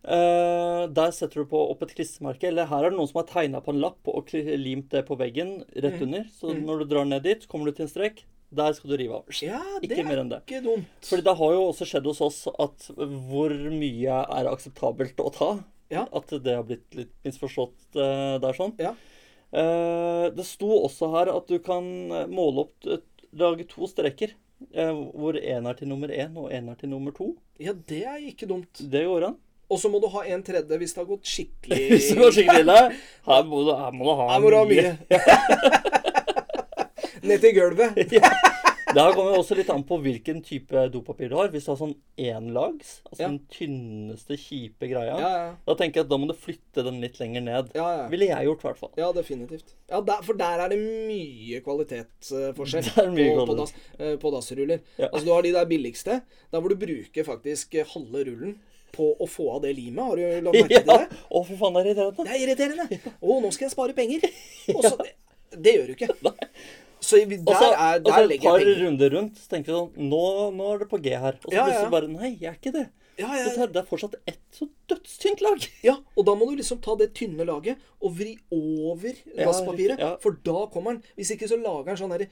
Speaker 2: Eh, der setter du på opp et klistremerke. Eller her er det noen som har tegna på en lapp og kli- limt det på veggen rett
Speaker 1: Mm.
Speaker 2: under. Så
Speaker 1: Mm.
Speaker 2: når du drar ned dit, kommer du til en strek. Der skal du rive av.
Speaker 1: Ja, det
Speaker 2: Ikke
Speaker 1: er
Speaker 2: mer enn det.
Speaker 1: ikke dumt.
Speaker 2: Fordi det har jo også skjedd hos oss at hvor mye er akseptabelt å ta.
Speaker 1: Ja.
Speaker 2: At det har blitt litt misforstått eh, der sånn.
Speaker 1: Ja.
Speaker 2: Eh, det sto også her at du kan måle opp Lage to streker. eh, hvor én er til nummer én, og én er til nummer to.
Speaker 1: Ja, det er ikke dumt.
Speaker 2: Det går an.
Speaker 1: Og så må du ha en tredje hvis det har gått skikkelig
Speaker 2: Hvis det går skikkelig ille. Her må du, her må du ha
Speaker 1: Her må du ha mye. Ned til gulvet.
Speaker 2: Det her kommer jo også litt an på hvilken type dopapir du har. Hvis du har sånn énlags, altså
Speaker 1: Ja.
Speaker 2: den tynneste, kjipe greia,
Speaker 1: Ja, ja.
Speaker 2: da tenker jeg at da må du flytte den litt lenger ned.
Speaker 1: Ja, ja.
Speaker 2: Ville jeg gjort, i hvert fall.
Speaker 1: ja definitivt. Ja, der, for der er det mye kvalitetsforskjell
Speaker 2: Det er mye
Speaker 1: på, på,
Speaker 2: kvalitet.
Speaker 1: dass, eh, på dassruller.
Speaker 2: Ja.
Speaker 1: Altså, du har de der billigste, der hvor du bruker faktisk eh, halve rullen på å få av det limet. Har du lagt merke til
Speaker 2: Ja.
Speaker 1: det?
Speaker 2: Å, fy faen, det er irriterende.
Speaker 1: Det er irriterende. Å, nå skal jeg spare penger. Og så, det gjør du ikke. Så i-
Speaker 2: Og så
Speaker 1: der, er,
Speaker 2: og så
Speaker 1: der
Speaker 2: et
Speaker 1: legger
Speaker 2: par
Speaker 1: jeg penger.
Speaker 2: runder rundt, så tenker du sånn nå, nå er det på G her. Og så
Speaker 1: Ja, ja.
Speaker 2: plutselig bare Nei, jeg er ikke det.
Speaker 1: Ja,
Speaker 2: Så
Speaker 1: ja,
Speaker 2: tar- Det er fortsatt ett så dødstynt lag.
Speaker 1: ja, og da må du liksom ta det tynne laget og vri over
Speaker 2: Ja,
Speaker 1: dasspapiret.
Speaker 2: riktig, ja.
Speaker 1: For da kommer den. Hvis ikke så lager den sånn der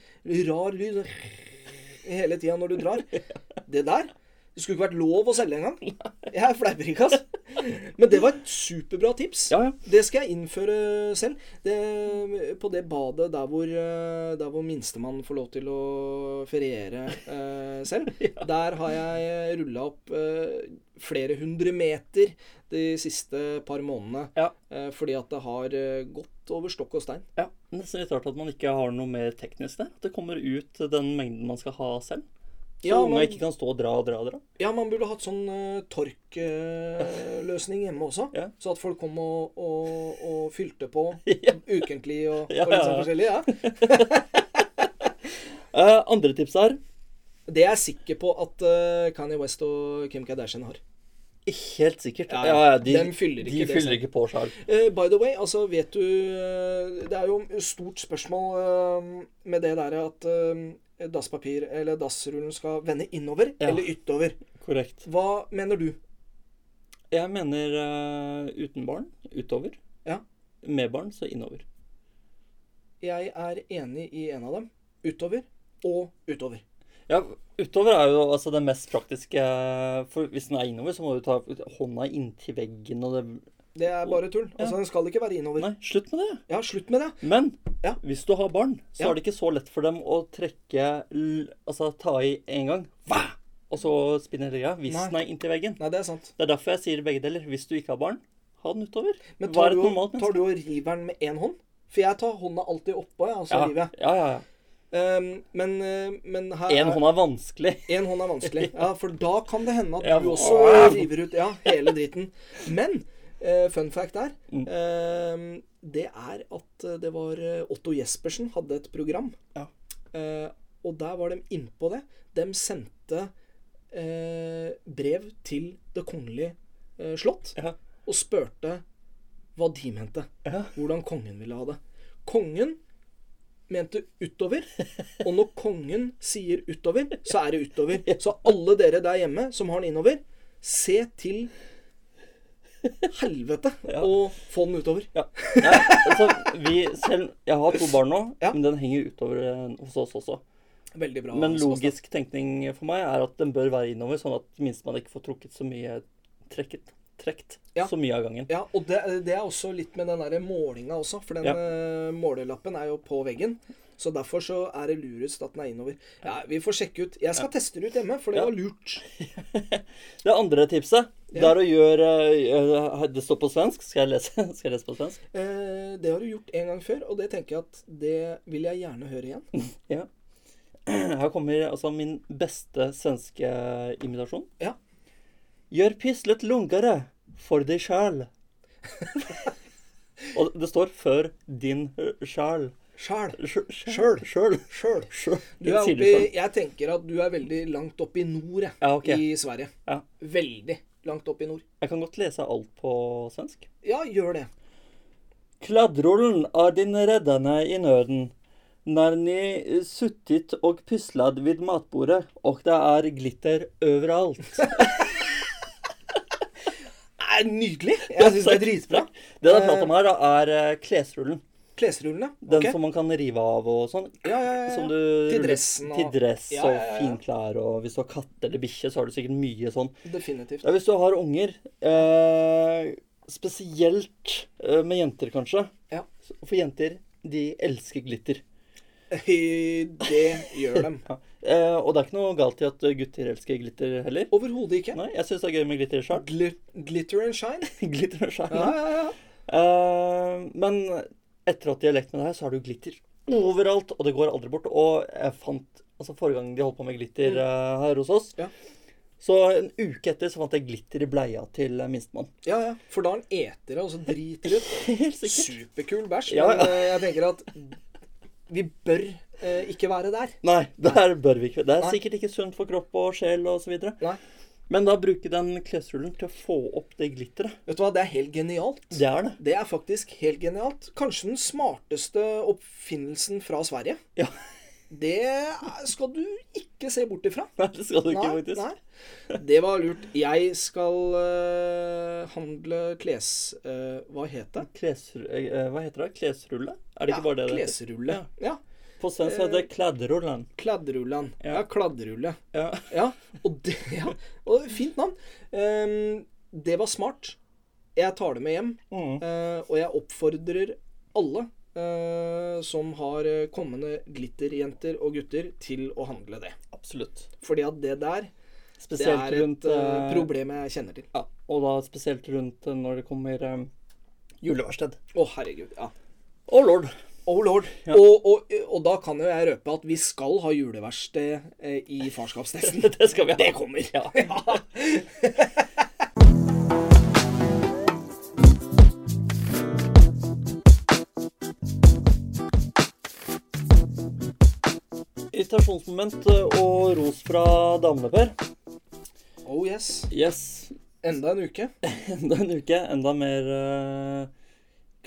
Speaker 1: rar lyd sånn hele tida når du drar. Det der det skulle ikke vært lov å selge engang. Jeg fleiper ikke, ass. Men det var et superbra tips.
Speaker 2: Ja, ja.
Speaker 1: Det skal jeg innføre selv. Det, på det badet der hvor, eh, der hvor minstemann får lov til å feriere eh, selv, der har jeg rulla opp eh, flere hundre meter de siste par månedene.
Speaker 2: Ja.
Speaker 1: Eh, fordi at det har eh, gått over stokk og stein.
Speaker 2: ja. Nesten litt rart at man ikke har noe mer teknisk der. At det kommer ut den mengden man skal ha selv. Så
Speaker 1: Ja,
Speaker 2: ja, man
Speaker 1: man-
Speaker 2: ikke kan stå og dra og dra og dra.
Speaker 1: Ja, man burde hatt sånn uh, torkløsning hjemme også.
Speaker 2: Ja.
Speaker 1: Så at folk kom og, og, og fylte på
Speaker 2: Ja.
Speaker 1: ukentlig og,
Speaker 2: Ja,
Speaker 1: og litt
Speaker 2: ja,
Speaker 1: sånn
Speaker 2: ja.
Speaker 1: forskjellig. Ja.
Speaker 2: Eh, andre tips er
Speaker 1: Det er jeg sikker på at eh, Kanye West og Kim Kardashian har.
Speaker 2: Helt sikkert.
Speaker 1: Ja,
Speaker 2: Ja,
Speaker 1: ja.
Speaker 2: ja, de,
Speaker 1: Dem fyller ikke
Speaker 2: de
Speaker 1: det
Speaker 2: fyller
Speaker 1: selv.
Speaker 2: ikke på sjøl.
Speaker 1: Eh, by the way, altså vet du eh, Det er jo et stort spørsmål eh, med det der at eh, dasspapir eller dassrullen skal vende innover
Speaker 2: Ja.
Speaker 1: eller ytover.
Speaker 2: Korrekt.
Speaker 1: Hva mener du?
Speaker 2: Jeg mener eh, uten barn utover.
Speaker 1: Ja.
Speaker 2: Med barn så innover.
Speaker 1: Jeg er enig i en av dem. Utover og utover.
Speaker 2: Ja, utover er jo altså det mest praktiske For hvis den er innover, så må du ta hånda inntil veggen og det
Speaker 1: Det er bare tull. Altså, Den skal ikke være innover.
Speaker 2: Nei, slutt med det.
Speaker 1: Ja, slutt med det.
Speaker 2: Men
Speaker 1: Ja.
Speaker 2: hvis du har barn, så
Speaker 1: Ja.
Speaker 2: er det ikke så lett for dem å trekke l- Altså ta i én gang, hva? og så spinne hele greia. Hvis
Speaker 1: Nei.
Speaker 2: den er inntil veggen.
Speaker 1: Nei, det er sant.
Speaker 2: Det er derfor jeg sier begge deler. Hvis du ikke har barn, ha den utover.
Speaker 1: Men
Speaker 2: Hva
Speaker 1: tar
Speaker 2: er
Speaker 1: du,
Speaker 2: et normalt
Speaker 1: tar du og river den med én hånd? For jeg tar hånda alltid oppå, ja, og så
Speaker 2: Ja,
Speaker 1: river jeg.
Speaker 2: ja, ja. ja.
Speaker 1: Eh, men, eh, men her
Speaker 2: Én
Speaker 1: er-
Speaker 2: hånd er vanskelig.
Speaker 1: Én hånd er vanskelig. Ja, For da kan det hende at
Speaker 2: Ja.
Speaker 1: du også river ut ja, hele dritten. Men eh, fun fact der
Speaker 2: Mm.
Speaker 1: eh, Det er at det var eh, Otto Jespersen hadde et program.
Speaker 2: Ja.
Speaker 1: Eh, og der var de innpå det. De sendte eh, brev til Det kongelige eh, slott
Speaker 2: Ja.
Speaker 1: og spurte hva de mente.
Speaker 2: Ja.
Speaker 1: Hvordan kongen ville ha det. Kongen mente utover, og når kongen sier utover, så er det utover. Så alle dere der hjemme som har den innover, se til helvete
Speaker 2: Ja.
Speaker 1: og få den utover.
Speaker 2: Ja. Nei, altså, vi selv Jeg har to barn nå,
Speaker 1: Ja.
Speaker 2: men den henger utover eh, hos oss også.
Speaker 1: Veldig bra.
Speaker 2: Men
Speaker 1: Sebastian.
Speaker 2: logisk tenkning for meg er at den bør være innover, sånn at minst man ikke får trukket så mye trekket, trekt
Speaker 1: Ja.
Speaker 2: så mye av gangen.
Speaker 1: Ja, og det, det er også litt med den der målinga også, for den
Speaker 2: Ja.
Speaker 1: eh, målelappen er jo på veggen. Så derfor så er det lurest at den er innover. Ja, Vi får sjekke ut. Jeg skal teste det ut hjemme, for det
Speaker 2: Ja.
Speaker 1: var lurt.
Speaker 2: Det andre tipset det
Speaker 1: Ja.
Speaker 2: er å gjøre eh, eh, Det står på svensk. Skal jeg lese, skal jeg lese på svensk?
Speaker 1: Eh, det har du gjort en gang før, og det tenker jeg at det vil jeg gjerne høre igjen.
Speaker 2: Ja. Her kommer altså min beste svenske imitasjon.
Speaker 1: Ja.
Speaker 2: Gjør pislet lungere for deg sjæl. Og det står 'før din sjæl'.
Speaker 1: Sjæl.
Speaker 2: Sj-
Speaker 1: Sjøl.
Speaker 2: Sjøl.
Speaker 1: Sjøl.
Speaker 2: Sjøl.
Speaker 1: Du er oppe i, jeg tenker at du er veldig langt oppe i nord, jeg.
Speaker 2: Ja, ok.
Speaker 1: I Sverige.
Speaker 2: Ja.
Speaker 1: Veldig langt oppe i nord.
Speaker 2: Jeg kan godt lese alt på svensk.
Speaker 1: Ja, gjør det.
Speaker 2: Kladdrullen er din reddende i nøden. Når ni suttit og puslet vid matbordet, og det er glitter overalt.
Speaker 1: Nei, nydelig! Jeg syns det er dritbra.
Speaker 2: Det det er prat om her, da, er eh, klesrullen.
Speaker 1: Klesrullene.
Speaker 2: Den
Speaker 1: ok.
Speaker 2: som man kan rive av og sånn.
Speaker 1: Ja, ja, ja.
Speaker 2: Som du
Speaker 1: Til
Speaker 2: ruller-
Speaker 1: dressen og-
Speaker 2: Til dress
Speaker 1: Ja,
Speaker 2: og
Speaker 1: ja, ja.
Speaker 2: finklær, og hvis du har katt eller bikkje, så har du sikkert mye sånn.
Speaker 1: Definitivt.
Speaker 2: Ja, hvis du har unger, eh, spesielt eh, med jenter kanskje,
Speaker 1: Ja.
Speaker 2: for jenter, de elsker glitter.
Speaker 1: Det gjør dem.
Speaker 2: Ja. Eh, og det er ikke noe galt i at gutter elsker glitter heller.
Speaker 1: Overhodet ikke.
Speaker 2: Nei, jeg syns det er gøy med glitter sjøl.
Speaker 1: Gl- Glitter and shine.
Speaker 2: glitter og skjær.
Speaker 1: Ja, ja, ja.
Speaker 2: Eh, men etter at de har lekt med det her, så har du glitter overalt, og det går aldri bort. Og jeg fant Altså, forrige gang de holdt på med glitter eh, her hos oss,
Speaker 1: Ja.
Speaker 2: så en uke etter så fant jeg glitter i bleia til eh, minstemann.
Speaker 1: ja, ja. For da er den etere, og så driter ut.
Speaker 2: Helt sikkert.
Speaker 1: Superkul bæsj.
Speaker 2: Ja,
Speaker 1: Men
Speaker 2: ja.
Speaker 1: eh, jeg tenker at vi bør eh, ikke være der.
Speaker 2: Nei, der bør vi ikke Det er
Speaker 1: Nei.
Speaker 2: sikkert ikke sunt for kropp og sjel og så videre.
Speaker 1: Nei.
Speaker 2: Men da bruke den klesrullen til å få opp det glitteret.
Speaker 1: Vet du hva, det er helt genialt.
Speaker 2: Det er det.
Speaker 1: Det er faktisk helt genialt. Kanskje den smarteste oppfinnelsen fra Sverige.
Speaker 2: Ja.
Speaker 1: Det skal du ikke se bort ifra.
Speaker 2: Nei, det skal du ikke, faktisk.
Speaker 1: nei. Det var lurt. Jeg skal eh, handle kles... eh, hva het det?
Speaker 2: Klesru... eh, Hva heter det? Klesrulle? Er det ikke bare det det heter?
Speaker 1: klesrulle. Ja.
Speaker 2: På svensk heter det klädrullen.
Speaker 1: Kladdrullan.
Speaker 2: Ja.
Speaker 1: Ja, kladdrulle.
Speaker 2: Ja.
Speaker 1: Ja, og det ja. og Fint navn. Ehm, det var smart. Jeg tar det med hjem.
Speaker 2: Mm.
Speaker 1: Eh, og jeg oppfordrer alle eh, som har eh, kommende glitterjenter og gutter, til å handle det.
Speaker 2: Absolutt.
Speaker 1: Fordi at det der, det
Speaker 2: Spesielt
Speaker 1: er et
Speaker 2: rundt
Speaker 1: eh,
Speaker 2: eh,
Speaker 1: problem jeg kjenner til.
Speaker 2: Ja, og da spesielt rundt eh, når det kommer eh, juleverksted.
Speaker 1: Å, herregud. Ja.
Speaker 2: Å lord.
Speaker 1: Oh lord. Og, og, og da kan jo jeg røpe at vi skal ha juleverksted eh, i farskapstesten.
Speaker 2: Det skal vi ha. Det kommer. Ja. Irritasjonsmoment eh, og ros fra damene, Per.
Speaker 1: Oh yes.
Speaker 2: Yes.
Speaker 1: Enda en uke.
Speaker 2: Enda en uke. Enda mer eh,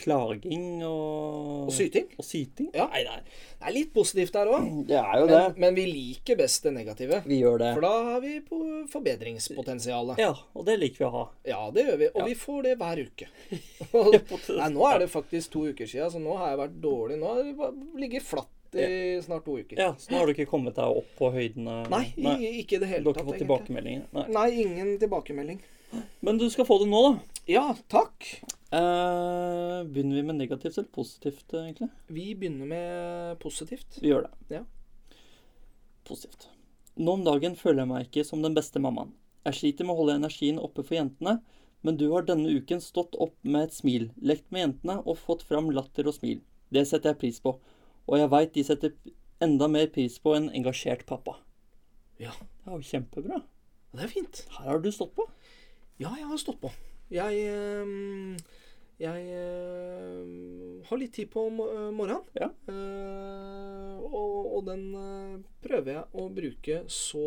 Speaker 2: klaging og
Speaker 1: Og syting.
Speaker 2: Og syting.
Speaker 1: Ja.
Speaker 2: Nei, nei.
Speaker 1: Det er litt positivt der òg.
Speaker 2: Det er jo det.
Speaker 1: Men, men vi liker best det negative.
Speaker 2: Vi gjør det.
Speaker 1: For da har vi på forbedringspotensialet.
Speaker 2: Ja, og det liker vi å ha.
Speaker 1: Ja, det gjør vi. Og vi får det hver uke. Nei, nå er det faktisk to uker siden, så nå har jeg vært dårlig. Nå har jeg bare ligget flatt i snart to uker.
Speaker 2: Ja, så nå har du ikke kommet deg opp på høydene?
Speaker 1: Nei, i- ikke i det
Speaker 2: Du
Speaker 1: hele tatt.
Speaker 2: har ikke fått
Speaker 1: egentlig.
Speaker 2: tilbakemeldinger? Nei.
Speaker 1: Nei, ingen tilbakemelding.
Speaker 2: Men du skal få det nå, da.
Speaker 1: Ja, takk.
Speaker 2: Eh, begynner vi med negativt eller positivt, eh, egentlig?
Speaker 1: Vi begynner med positivt.
Speaker 2: Vi gjør det.
Speaker 1: Ja.
Speaker 2: Positivt. Nå om dagen føler jeg meg ikke som den beste mammaen. Jeg sliter med å holde energien oppe for jentene, men du har denne uken stått opp med et smil, lekt med jentene og fått fram latter og smil. Det setter jeg pris på, og jeg veit de setter enda mer pris på en engasjert pappa.
Speaker 1: Ja.
Speaker 2: Det er jo kjempebra.
Speaker 1: Det er fint.
Speaker 2: Her har du stått på.
Speaker 1: Ja, jeg har stått på. Jeg ehm, Jeg ehm, har litt tid på mo- eh, morgenen.
Speaker 2: Ja.
Speaker 1: Eh, og, og den eh, prøver jeg å bruke så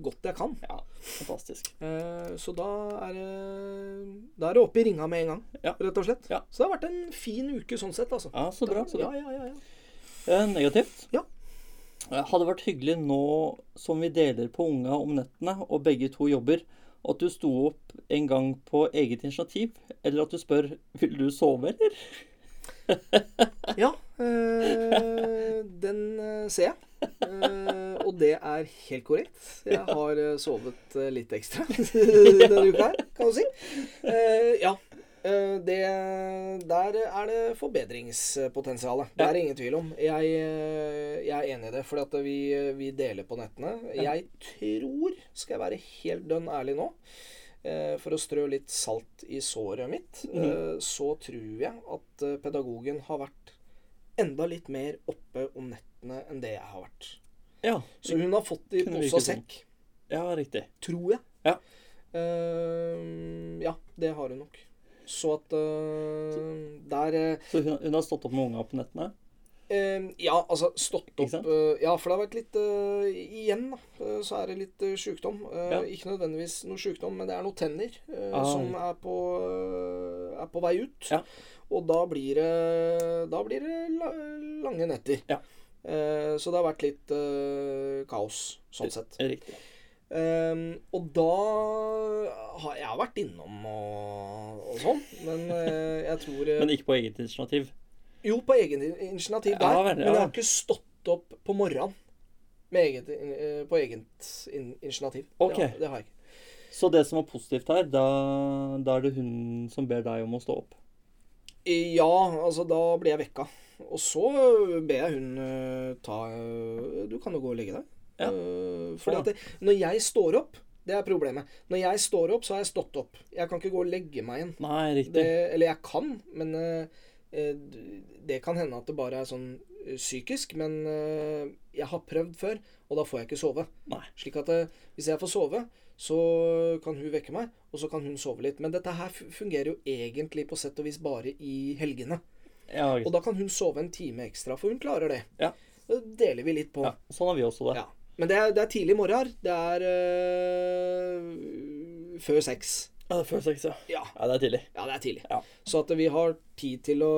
Speaker 1: godt jeg kan.
Speaker 2: Ja, fantastisk.
Speaker 1: Eh, så da er det Da er det opp i ringa med en gang,
Speaker 2: Ja.
Speaker 1: rett og slett.
Speaker 2: Ja.
Speaker 1: Så det har vært en fin uke sånn sett, altså.
Speaker 2: Ja, så bra. Så bra.
Speaker 1: Ja, ja, ja, ja.
Speaker 2: Eh, Negativt?
Speaker 1: Ja.
Speaker 2: Eh, Hadde vært hyggelig nå som vi deler på unga om nettene og begge to jobber, at du sto opp en gang på eget initiativ, eller at du spør 'vil du sove', eller?
Speaker 1: ja eh, den eh, ser jeg. Eh, og det er helt korrekt. Jeg har eh, sovet eh, litt ekstra denne uka her, kan du si. Eh, ja. Eh, det, der er det forbedringspotensialet. Det er det ingen tvil om. Jeg, eh, jeg er enig i det, for at vi, vi deler på nettene. Jeg tror, skal jeg være helt dønn ærlig nå, eh, for å strø litt salt i såret mitt, eh, så tror jeg at eh, pedagogen har vært enda litt mer oppe om nettene enn det jeg har vært.
Speaker 2: Ja,
Speaker 1: Så hun har fått i
Speaker 2: Kunne
Speaker 1: pose og
Speaker 2: virke sånn.
Speaker 1: sekk,
Speaker 2: ja riktig.
Speaker 1: tror jeg.
Speaker 2: Ja.
Speaker 1: Eh, ja, det har hun nok. Så at eh, Der eh,
Speaker 2: Så hun, hun har stått opp med unga på nettene?
Speaker 1: Eh, ja, altså stått
Speaker 2: Ikke
Speaker 1: opp
Speaker 2: sant?
Speaker 1: eh, Ja, for det har vært litt eh, Igjen, da, eh, så er det litt eh, sjukdom. Eh,
Speaker 2: Ja.
Speaker 1: Ikke nødvendigvis noe sjukdom, men det er noen tenner eh,
Speaker 2: Ah.
Speaker 1: som er på, eh, er på vei ut.
Speaker 2: Ja.
Speaker 1: Og da blir det, da blir det la, lange netter.
Speaker 2: Ja.
Speaker 1: Eh, så det har vært litt eh, kaos, sånn sett.
Speaker 2: Riktig.
Speaker 1: Ehm, og da har jeg vært innom og, og sånn, men eh, jeg tror eh,
Speaker 2: Men ikke på eget initiativ?
Speaker 1: jo, på eget initiativ der.
Speaker 2: Ja vel, ja
Speaker 1: men jeg har
Speaker 2: vel.
Speaker 1: ikke stått opp på morgenen med eget, in- eh, på eget in initiativ.
Speaker 2: Ok.
Speaker 1: Det, har- det har jeg ikke.
Speaker 2: Så det som var positivt her, da, da er det hun som ber deg om å stå opp?
Speaker 1: Ja, altså da blir jeg vekka. Og så ber jeg hun eh, ta eh, Du kan jo gå og legge deg.
Speaker 2: Ja.
Speaker 1: Eh, fordi at det, når jeg står opp Det er problemet. Når jeg står opp, så har jeg stått opp. Jeg kan ikke gå og legge meg igjen.
Speaker 2: Nei,
Speaker 1: Det,
Speaker 2: riktig.
Speaker 1: eller jeg kan, men eh, eh, d- det kan hende at det bare er sånn eh, psykisk. Men eh, jeg har prøvd før, og da får jeg ikke sove.
Speaker 2: Nei.
Speaker 1: Slik at eh, hvis jeg får sove, så kan hun vekke meg, og så kan hun sove litt. Men dette her fu- fungerer jo egentlig på sett og vis bare i helgene.
Speaker 2: Ja,
Speaker 1: Og da kan hun sove en time ekstra, for hun klarer det.
Speaker 2: Ja.
Speaker 1: Det deler vi litt på.
Speaker 2: ja, sånn har vi også det.
Speaker 1: Ja. Men det er, det er tidlig morgen her. Det er eh, før seks.
Speaker 2: Ja, det føles ikke så.
Speaker 1: Ja.
Speaker 2: Ja, det er tidlig.
Speaker 1: Ja, det er tidlig.
Speaker 2: Ja.
Speaker 1: Så at vi har tid til å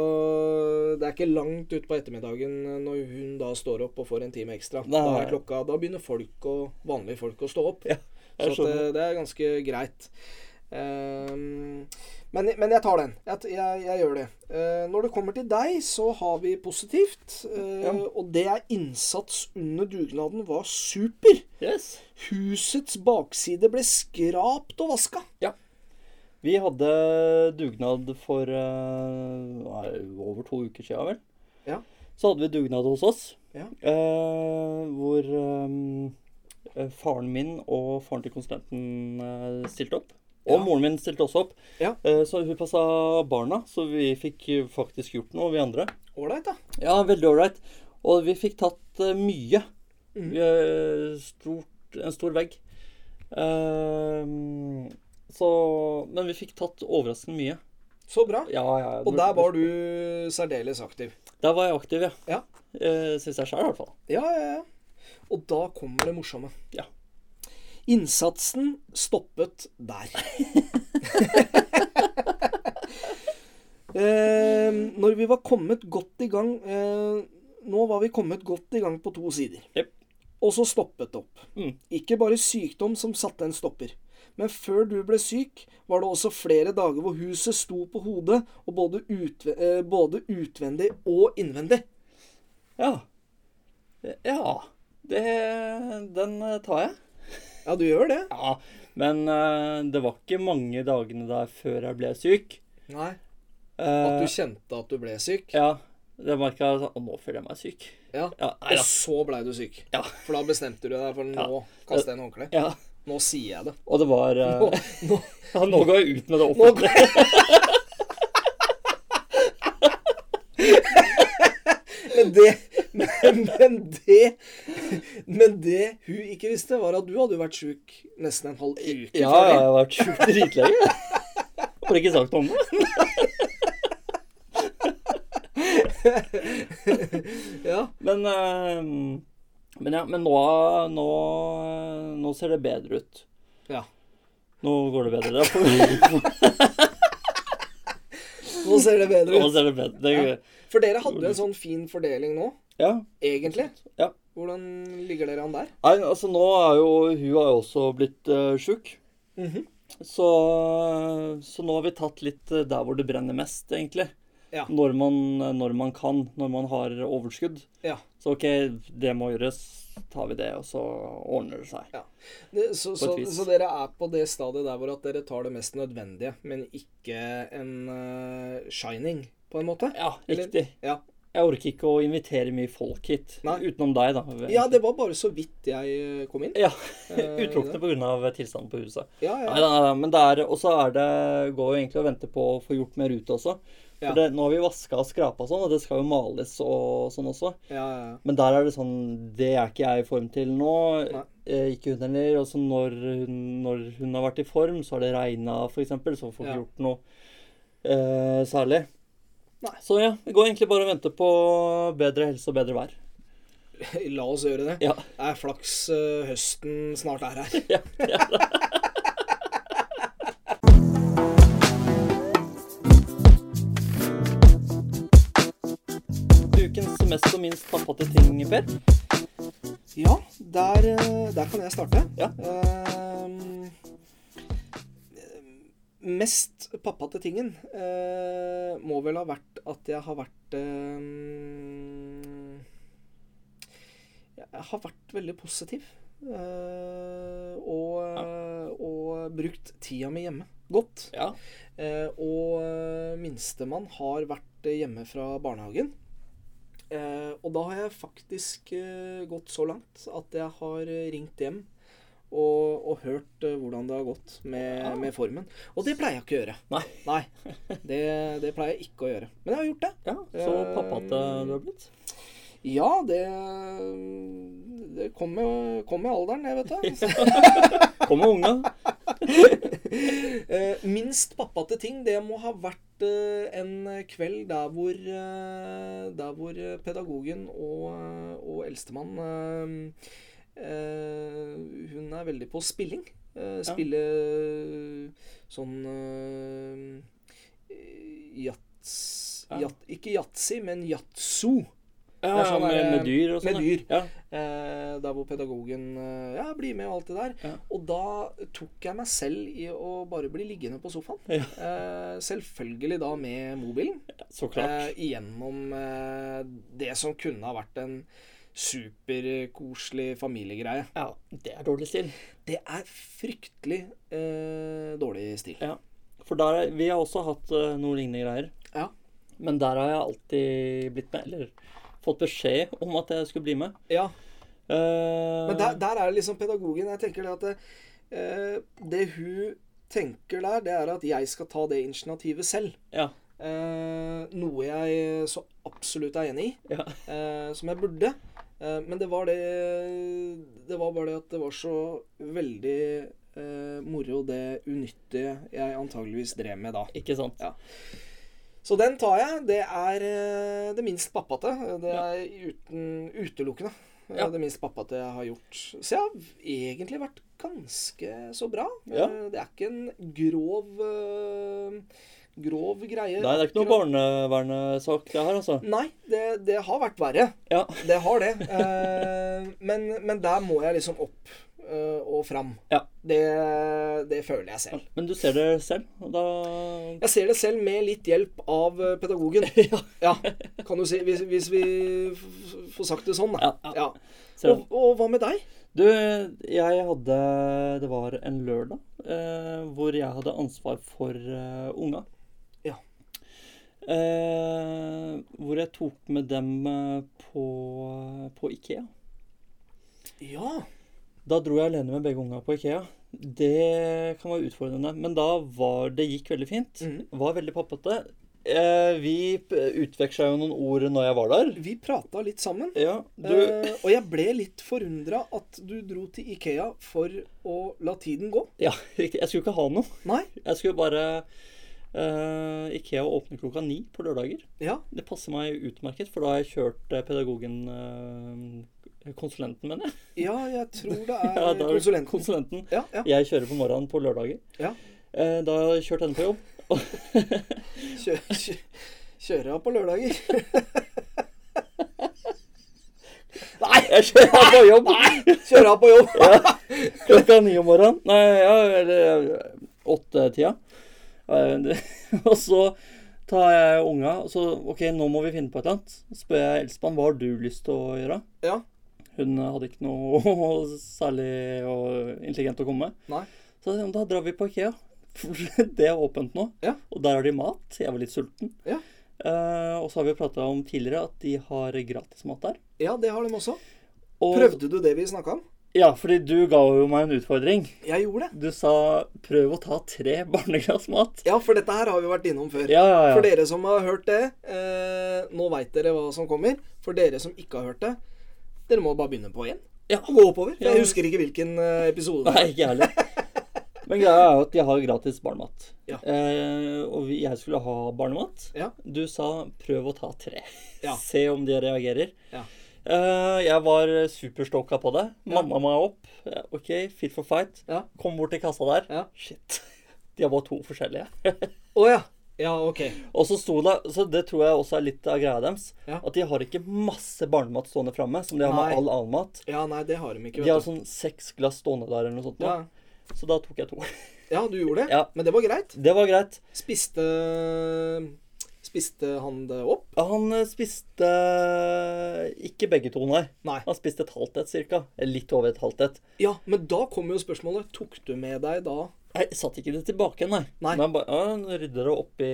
Speaker 1: Det er ikke langt utpå ettermiddagen når hun da står opp og får en time ekstra.
Speaker 2: Nei.
Speaker 1: Da er klokka Da begynner folk og, vanlige folk å stå opp.
Speaker 2: Ja,
Speaker 1: så at
Speaker 2: jeg
Speaker 1: det,
Speaker 2: skjønner.
Speaker 1: det er ganske greit. Ehm, men, men jeg tar den. Jeg, jeg, jeg gjør det. Eh, når det kommer til deg, så har vi positivt. eh,
Speaker 2: Ja.
Speaker 1: Og det er innsats under dugnaden var super.
Speaker 2: Yes.
Speaker 1: Husets bakside ble skrapt og vaska.
Speaker 2: Vi hadde dugnad for eh, nei, over to uker siden, vel.
Speaker 1: Ja.
Speaker 2: Så hadde vi dugnad hos oss,
Speaker 1: Ja.
Speaker 2: eh, hvor eh, faren min og faren til konsulenten eh, stilte opp. Og
Speaker 1: Ja.
Speaker 2: moren min stilte også opp.
Speaker 1: Ja.
Speaker 2: Eh, så hun passa barna, så vi fikk faktisk gjort noe, vi andre.
Speaker 1: Ålreit, da.
Speaker 2: Ja, veldig ålreit. Og vi fikk tatt eh, mye.
Speaker 1: Mhm.
Speaker 2: Vi, eh, stort, en stor vegg. Ehm, så Men vi fikk tatt overraskende mye.
Speaker 1: Så bra.
Speaker 2: Ja, ja. ja.
Speaker 1: Og der var du særdeles aktiv.
Speaker 2: Der var jeg aktiv, ja.
Speaker 1: Ja.
Speaker 2: Eh, Syns jeg sjøl, i hvert fall.
Speaker 1: Ja, ja, ja. Og da kommer det morsomme.
Speaker 2: Ja.
Speaker 1: Innsatsen stoppet der. eh, når vi var kommet godt i gang eh, Nå var vi kommet godt i gang på to sider.
Speaker 2: Jep.
Speaker 1: Og så stoppet det opp.
Speaker 2: Mm.
Speaker 1: Ikke bare sykdom som satte en stopper. Men før du ble syk, var det også flere dager hvor huset sto på hodet, og både, utve eh, både utvendig og innvendig.
Speaker 2: Ja. Eh, Ja. Det, den eh, tar jeg.
Speaker 1: Ja, du gjør det?
Speaker 2: Ja. Men eh, det var ikke mange dagene der før jeg ble syk.
Speaker 1: Nei. At
Speaker 2: Eh,
Speaker 1: du kjente at du ble syk?
Speaker 2: Ja. Det merka jeg sånn Å, nå føler jeg meg syk.
Speaker 1: Ja.
Speaker 2: Ja, nei
Speaker 1: Og
Speaker 2: da.
Speaker 1: så blei du syk?
Speaker 2: Ja.
Speaker 1: For da bestemte du deg for nå kaster jeg en håndkle.
Speaker 2: Ja.
Speaker 1: Nå sier jeg det.
Speaker 2: Og det var eh,
Speaker 1: Nå, nå,
Speaker 2: Ja, nå går jeg ut med det
Speaker 1: nå
Speaker 2: offentlige.
Speaker 1: går jeg Men det, men, men det Men det hun ikke visste, var at du hadde jo vært sjuk nesten en halv uke
Speaker 2: Ja,
Speaker 1: før
Speaker 2: jeg
Speaker 1: det.
Speaker 2: har vært sjukt dritlenge. Har ikke sagt om det.
Speaker 1: Ja.
Speaker 2: Men, eh, men ja, men nå, nå, nå ser det bedre ut.
Speaker 1: Ja.
Speaker 2: Nå går det bedre. Nå
Speaker 1: Nå ser det bedre ut.
Speaker 2: ser det bedre. Det,
Speaker 1: For dere hadde en sånn fin fordeling nå,
Speaker 2: ja.
Speaker 1: egentlig.
Speaker 2: Ja.
Speaker 1: Hvordan ligger dere an der?
Speaker 2: Nei, altså nå er jo Hun har jo også blitt uh, sjuk.
Speaker 1: Mhm.
Speaker 2: Så, så nå har vi tatt litt eh, der hvor det brenner mest, egentlig.
Speaker 1: Ja.
Speaker 2: Når, man, eh, når man kan, når man har overskudd.
Speaker 1: Ja.
Speaker 2: Så OK, det må gjøres. Tar vi det, og så ordner det seg.
Speaker 1: Det, så,
Speaker 2: På et
Speaker 1: så,
Speaker 2: vis.
Speaker 1: så dere er på det stadiet der hvor at dere tar det mest nødvendige, men ikke en eh, shining, på en måte?
Speaker 2: Ja,
Speaker 1: Eller-
Speaker 2: riktig.
Speaker 1: ja.
Speaker 2: Jeg orker ikke å invitere mye folk hit.
Speaker 1: Nei.
Speaker 2: Utenom deg, da.
Speaker 1: Ja, det var bare så vidt jeg eh, kom inn.
Speaker 2: Ja,
Speaker 1: Eh,
Speaker 2: Utelukkende pga. tilstanden på huset.
Speaker 1: Ja,
Speaker 2: Nei
Speaker 1: ja.
Speaker 2: da, men det er Og så er det går jo egentlig å vente på å få gjort mer ute også.
Speaker 1: Ja.
Speaker 2: For det, nå har vi vaska og skrapa og sånn, og det skal jo males og sånn også.
Speaker 1: Ja, ja, ja.
Speaker 2: Men der er det sånn Det er ikke jeg i form til nå.
Speaker 1: Nei.
Speaker 2: Eh, ikke hun heller. Og så når, hun- når hun har vært i form, så har det regna, f.eks., så får
Speaker 1: Ja.
Speaker 2: vi ikke gjort noe eh, særlig.
Speaker 1: Nei.
Speaker 2: Så ja, det går egentlig bare å vente på bedre helse og bedre vær.
Speaker 1: La oss gjøre det.
Speaker 2: Ja.
Speaker 1: Det er flaks eh, høsten snart er her.
Speaker 2: Ja, Ukens mest og minst tappete ting, Per.
Speaker 1: Ja, der, eh, der kan jeg starte.
Speaker 2: Ja.
Speaker 1: Ehm, mest pappate tingen eh, må vel ha vært at jeg har vært eh, ehm, Jeg har vært veldig positiv. eh, og, eh, og brukt tida mi hjemme godt.
Speaker 2: Ja.
Speaker 1: Eh, og eh, minstemann har vært eh, hjemme fra barnehagen. Eh, og da har jeg faktisk eh, gått så langt at jeg har eh, ringt hjem og, og hørt eh, hvordan det har gått med,
Speaker 2: Ja.
Speaker 1: med formen. Og det pleier jeg ikke å gjøre.
Speaker 2: Nei.
Speaker 1: Det, det pleier jeg ikke å gjøre. Men jeg har gjort det.
Speaker 2: ja så pappate du har blitt.
Speaker 1: Ja, det, mm, det kom, med, kom med alderen, det, vet du.
Speaker 2: Kommer unga.
Speaker 1: Eh, minst pappate ting, det må ha vært eh, en kveld der hvor, eh, der hvor eh, pedagogen og, eh, og eldstemann eh, eh, Hun er veldig på spilling. Eh, spille sånn eh, jats,
Speaker 2: Ja.
Speaker 1: jat, Ikke yatzy, men yatzu.
Speaker 2: Ja,
Speaker 1: Det er sånn
Speaker 2: med,
Speaker 1: der,
Speaker 2: med dyr og
Speaker 1: med
Speaker 2: sånn.
Speaker 1: dyr.
Speaker 2: Ja.
Speaker 1: Eh, der hvor pedagogen eh, ja, blir med og alt det der.
Speaker 2: Ja.
Speaker 1: Og da tok jeg meg selv i å bare bli liggende på sofaen.
Speaker 2: Ja.
Speaker 1: Eh, selvfølgelig da med mobilen.
Speaker 2: Ja, så klart.
Speaker 1: Eh, gjennom eh, det som kunne ha vært en superkoselig familiegreie.
Speaker 2: Ja, det er dårlig stil.
Speaker 1: Det er fryktelig eh, dårlig stil.
Speaker 2: Ja. For der, er- vi har også hatt eh, noen lignende greier.
Speaker 1: Ja.
Speaker 2: Men der har jeg alltid blitt med, eller fått beskjed om at jeg skulle bli med.
Speaker 1: ja.
Speaker 2: Eh,
Speaker 1: Men der, der er det liksom pedagogen. Jeg tenker det at det, eh, det hun tenker der, det er at jeg skal ta det initiativet selv.
Speaker 2: Ja.
Speaker 1: Eh, noe jeg så absolutt er enig i,
Speaker 2: ja.
Speaker 1: eh, som jeg burde. Eh, men det var det Det var bare det at det var så veldig eh, moro, det unyttige jeg antageligvis drev med da.
Speaker 2: Ikke sant?
Speaker 1: Ja. Så den tar jeg. Det er eh, det minst pappate. Det
Speaker 2: Ja.
Speaker 1: er uten, utelukkende eh,
Speaker 2: Ja.
Speaker 1: det minst pappate jeg har gjort. Så jeg har egentlig vært ganske så bra.
Speaker 2: Ja.
Speaker 1: Eh, Det er ikke en grov eh, grov greie.
Speaker 2: Nei, det er ikke noe barnevernssak det her, altså.
Speaker 1: Nei, det, det har vært verre.
Speaker 2: Ja.
Speaker 1: Det har det. Eh, men, men der må jeg liksom opp eh, og fram.
Speaker 2: Ja.
Speaker 1: Det, det føler jeg selv.
Speaker 2: Men du ser det selv, og da
Speaker 1: Jeg ser det selv med litt hjelp av eh, pedagogen.
Speaker 2: Ja.
Speaker 1: Ja, kan du si. Hvis, hvis vi f- får sagt det sånn, da.
Speaker 2: Ja, ja.
Speaker 1: Ja.
Speaker 2: ser
Speaker 1: Og, og hva med deg?
Speaker 2: Du, jeg hadde Det var en lørdag eh, hvor jeg hadde ansvar for eh, unga.
Speaker 1: Ja.
Speaker 2: Eh, hvor jeg tok med dem eh, på, på Ikea.
Speaker 1: Ja.
Speaker 2: Da dro jeg alene med begge unga på Ikea. Det kan være utfordrende, men da var det gikk veldig fint.
Speaker 1: Mhm.
Speaker 2: Var veldig pappete. Eh, vi utveksla jo noen ord når jeg var der.
Speaker 1: Vi prata litt sammen.
Speaker 2: Ja, du
Speaker 1: eh, og jeg ble litt forundra at du dro til Ikea for å la tiden gå.
Speaker 2: Ja, riktig. Jeg skulle ikke ha noe.
Speaker 1: Nei?
Speaker 2: Jeg skulle bare eh, Ikea åpner klokka ni på lørdager.
Speaker 1: Ja.
Speaker 2: Det passer meg utmerket, for da har jeg kjørt eh, pedagogen eh, Konsulenten, mener jeg.
Speaker 1: Ja, jeg tror det er
Speaker 2: Ja, da er det
Speaker 1: Eh, konsulenten.
Speaker 2: konsulenten.
Speaker 1: Ja, ja.
Speaker 2: Jeg kjører på morgenen på lørdager.
Speaker 1: Ja.
Speaker 2: Eh, da har jeg kjørt henne på jobb.
Speaker 1: Kjø, kjø, kjøre av på lørdager.
Speaker 2: Nei, jeg kjører henne på jobb!
Speaker 1: Kjøre av på jobb.
Speaker 2: Klokka ni om morgenen. Nei, ja, eller eh, åtte-tida. Og så tar jeg unga, og så OK, nå må vi finne på et eller annet. Så spør jeg Elspan hva har du lyst til å gjøre.
Speaker 1: Ja.
Speaker 2: Hun hadde ikke noe særlig og intelligent å komme med.
Speaker 1: Nei.
Speaker 2: Så jeg sa, da drar vi på Ikea. For det er åpent nå.
Speaker 1: Ja.
Speaker 2: Og der har de mat. Jeg var litt sulten.
Speaker 1: Ja.
Speaker 2: Eh, og så har vi prata om tidligere at de har gratismat der.
Speaker 1: Ja, det har de også.
Speaker 2: Og,
Speaker 1: Prøvde du det vi snakka om?
Speaker 2: Ja, fordi du ga jo meg en utfordring.
Speaker 1: Jeg gjorde det.
Speaker 2: Du sa 'prøv å ta tre barneglass mat'.
Speaker 1: Ja, for dette her har vi vært innom før.
Speaker 2: Ja, ja, ja.
Speaker 1: For dere som har hørt det, eh, nå veit dere hva som kommer. For dere som ikke har hørt det, dere må bare begynne på igjen.
Speaker 2: Ja.
Speaker 1: Og gå oppover.
Speaker 2: Ja.
Speaker 1: Jeg husker ikke hvilken eh, episode det
Speaker 2: Nei, ikke jeg heller. Men greia er jo at vi har gratis barnemat.
Speaker 1: Ja.
Speaker 2: Eh, og vi, jeg skulle ha barnemat.
Speaker 1: Ja.
Speaker 2: Du sa 'prøv å ta tre'.
Speaker 1: Ja.
Speaker 2: Se om de reagerer.
Speaker 1: Ja.
Speaker 2: Eh, jeg var superstoka på det. Mamma meg opp. Eh, OK, fit for fight.
Speaker 1: Ja.
Speaker 2: Kom bort til kassa der.
Speaker 1: Ja.
Speaker 2: Shit. De har bare to forskjellige.
Speaker 1: Å ja. Ja, ok.
Speaker 2: Og så sto det, så det tror jeg også er litt av greia deres,
Speaker 1: Ja.
Speaker 2: at de har ikke masse barnemat stående framme, som de har
Speaker 1: Nei.
Speaker 2: med all annen mat.
Speaker 1: Ja, nei, det har de ikke.
Speaker 2: De har
Speaker 1: Vet du.
Speaker 2: sånn seks glass stående der eller noe sånt. nå.
Speaker 1: Ja.
Speaker 2: Så da tok jeg to.
Speaker 1: ja, du gjorde det.
Speaker 2: Ja.
Speaker 1: Men det var greit.
Speaker 2: Det var greit.
Speaker 1: Spiste Spiste han det opp?
Speaker 2: Han eh, spiste eh, ikke begge to, nei.
Speaker 1: Nei.
Speaker 2: Han spiste et halvt et, cirka. Eller Litt over et halvt et.
Speaker 1: Ja, men da kommer jo spørsmålet. Tok du med deg da
Speaker 2: Nei, jeg satt ikke det tilbake, nei.
Speaker 1: Nei.
Speaker 2: Men bare, ja, han rydder det oppi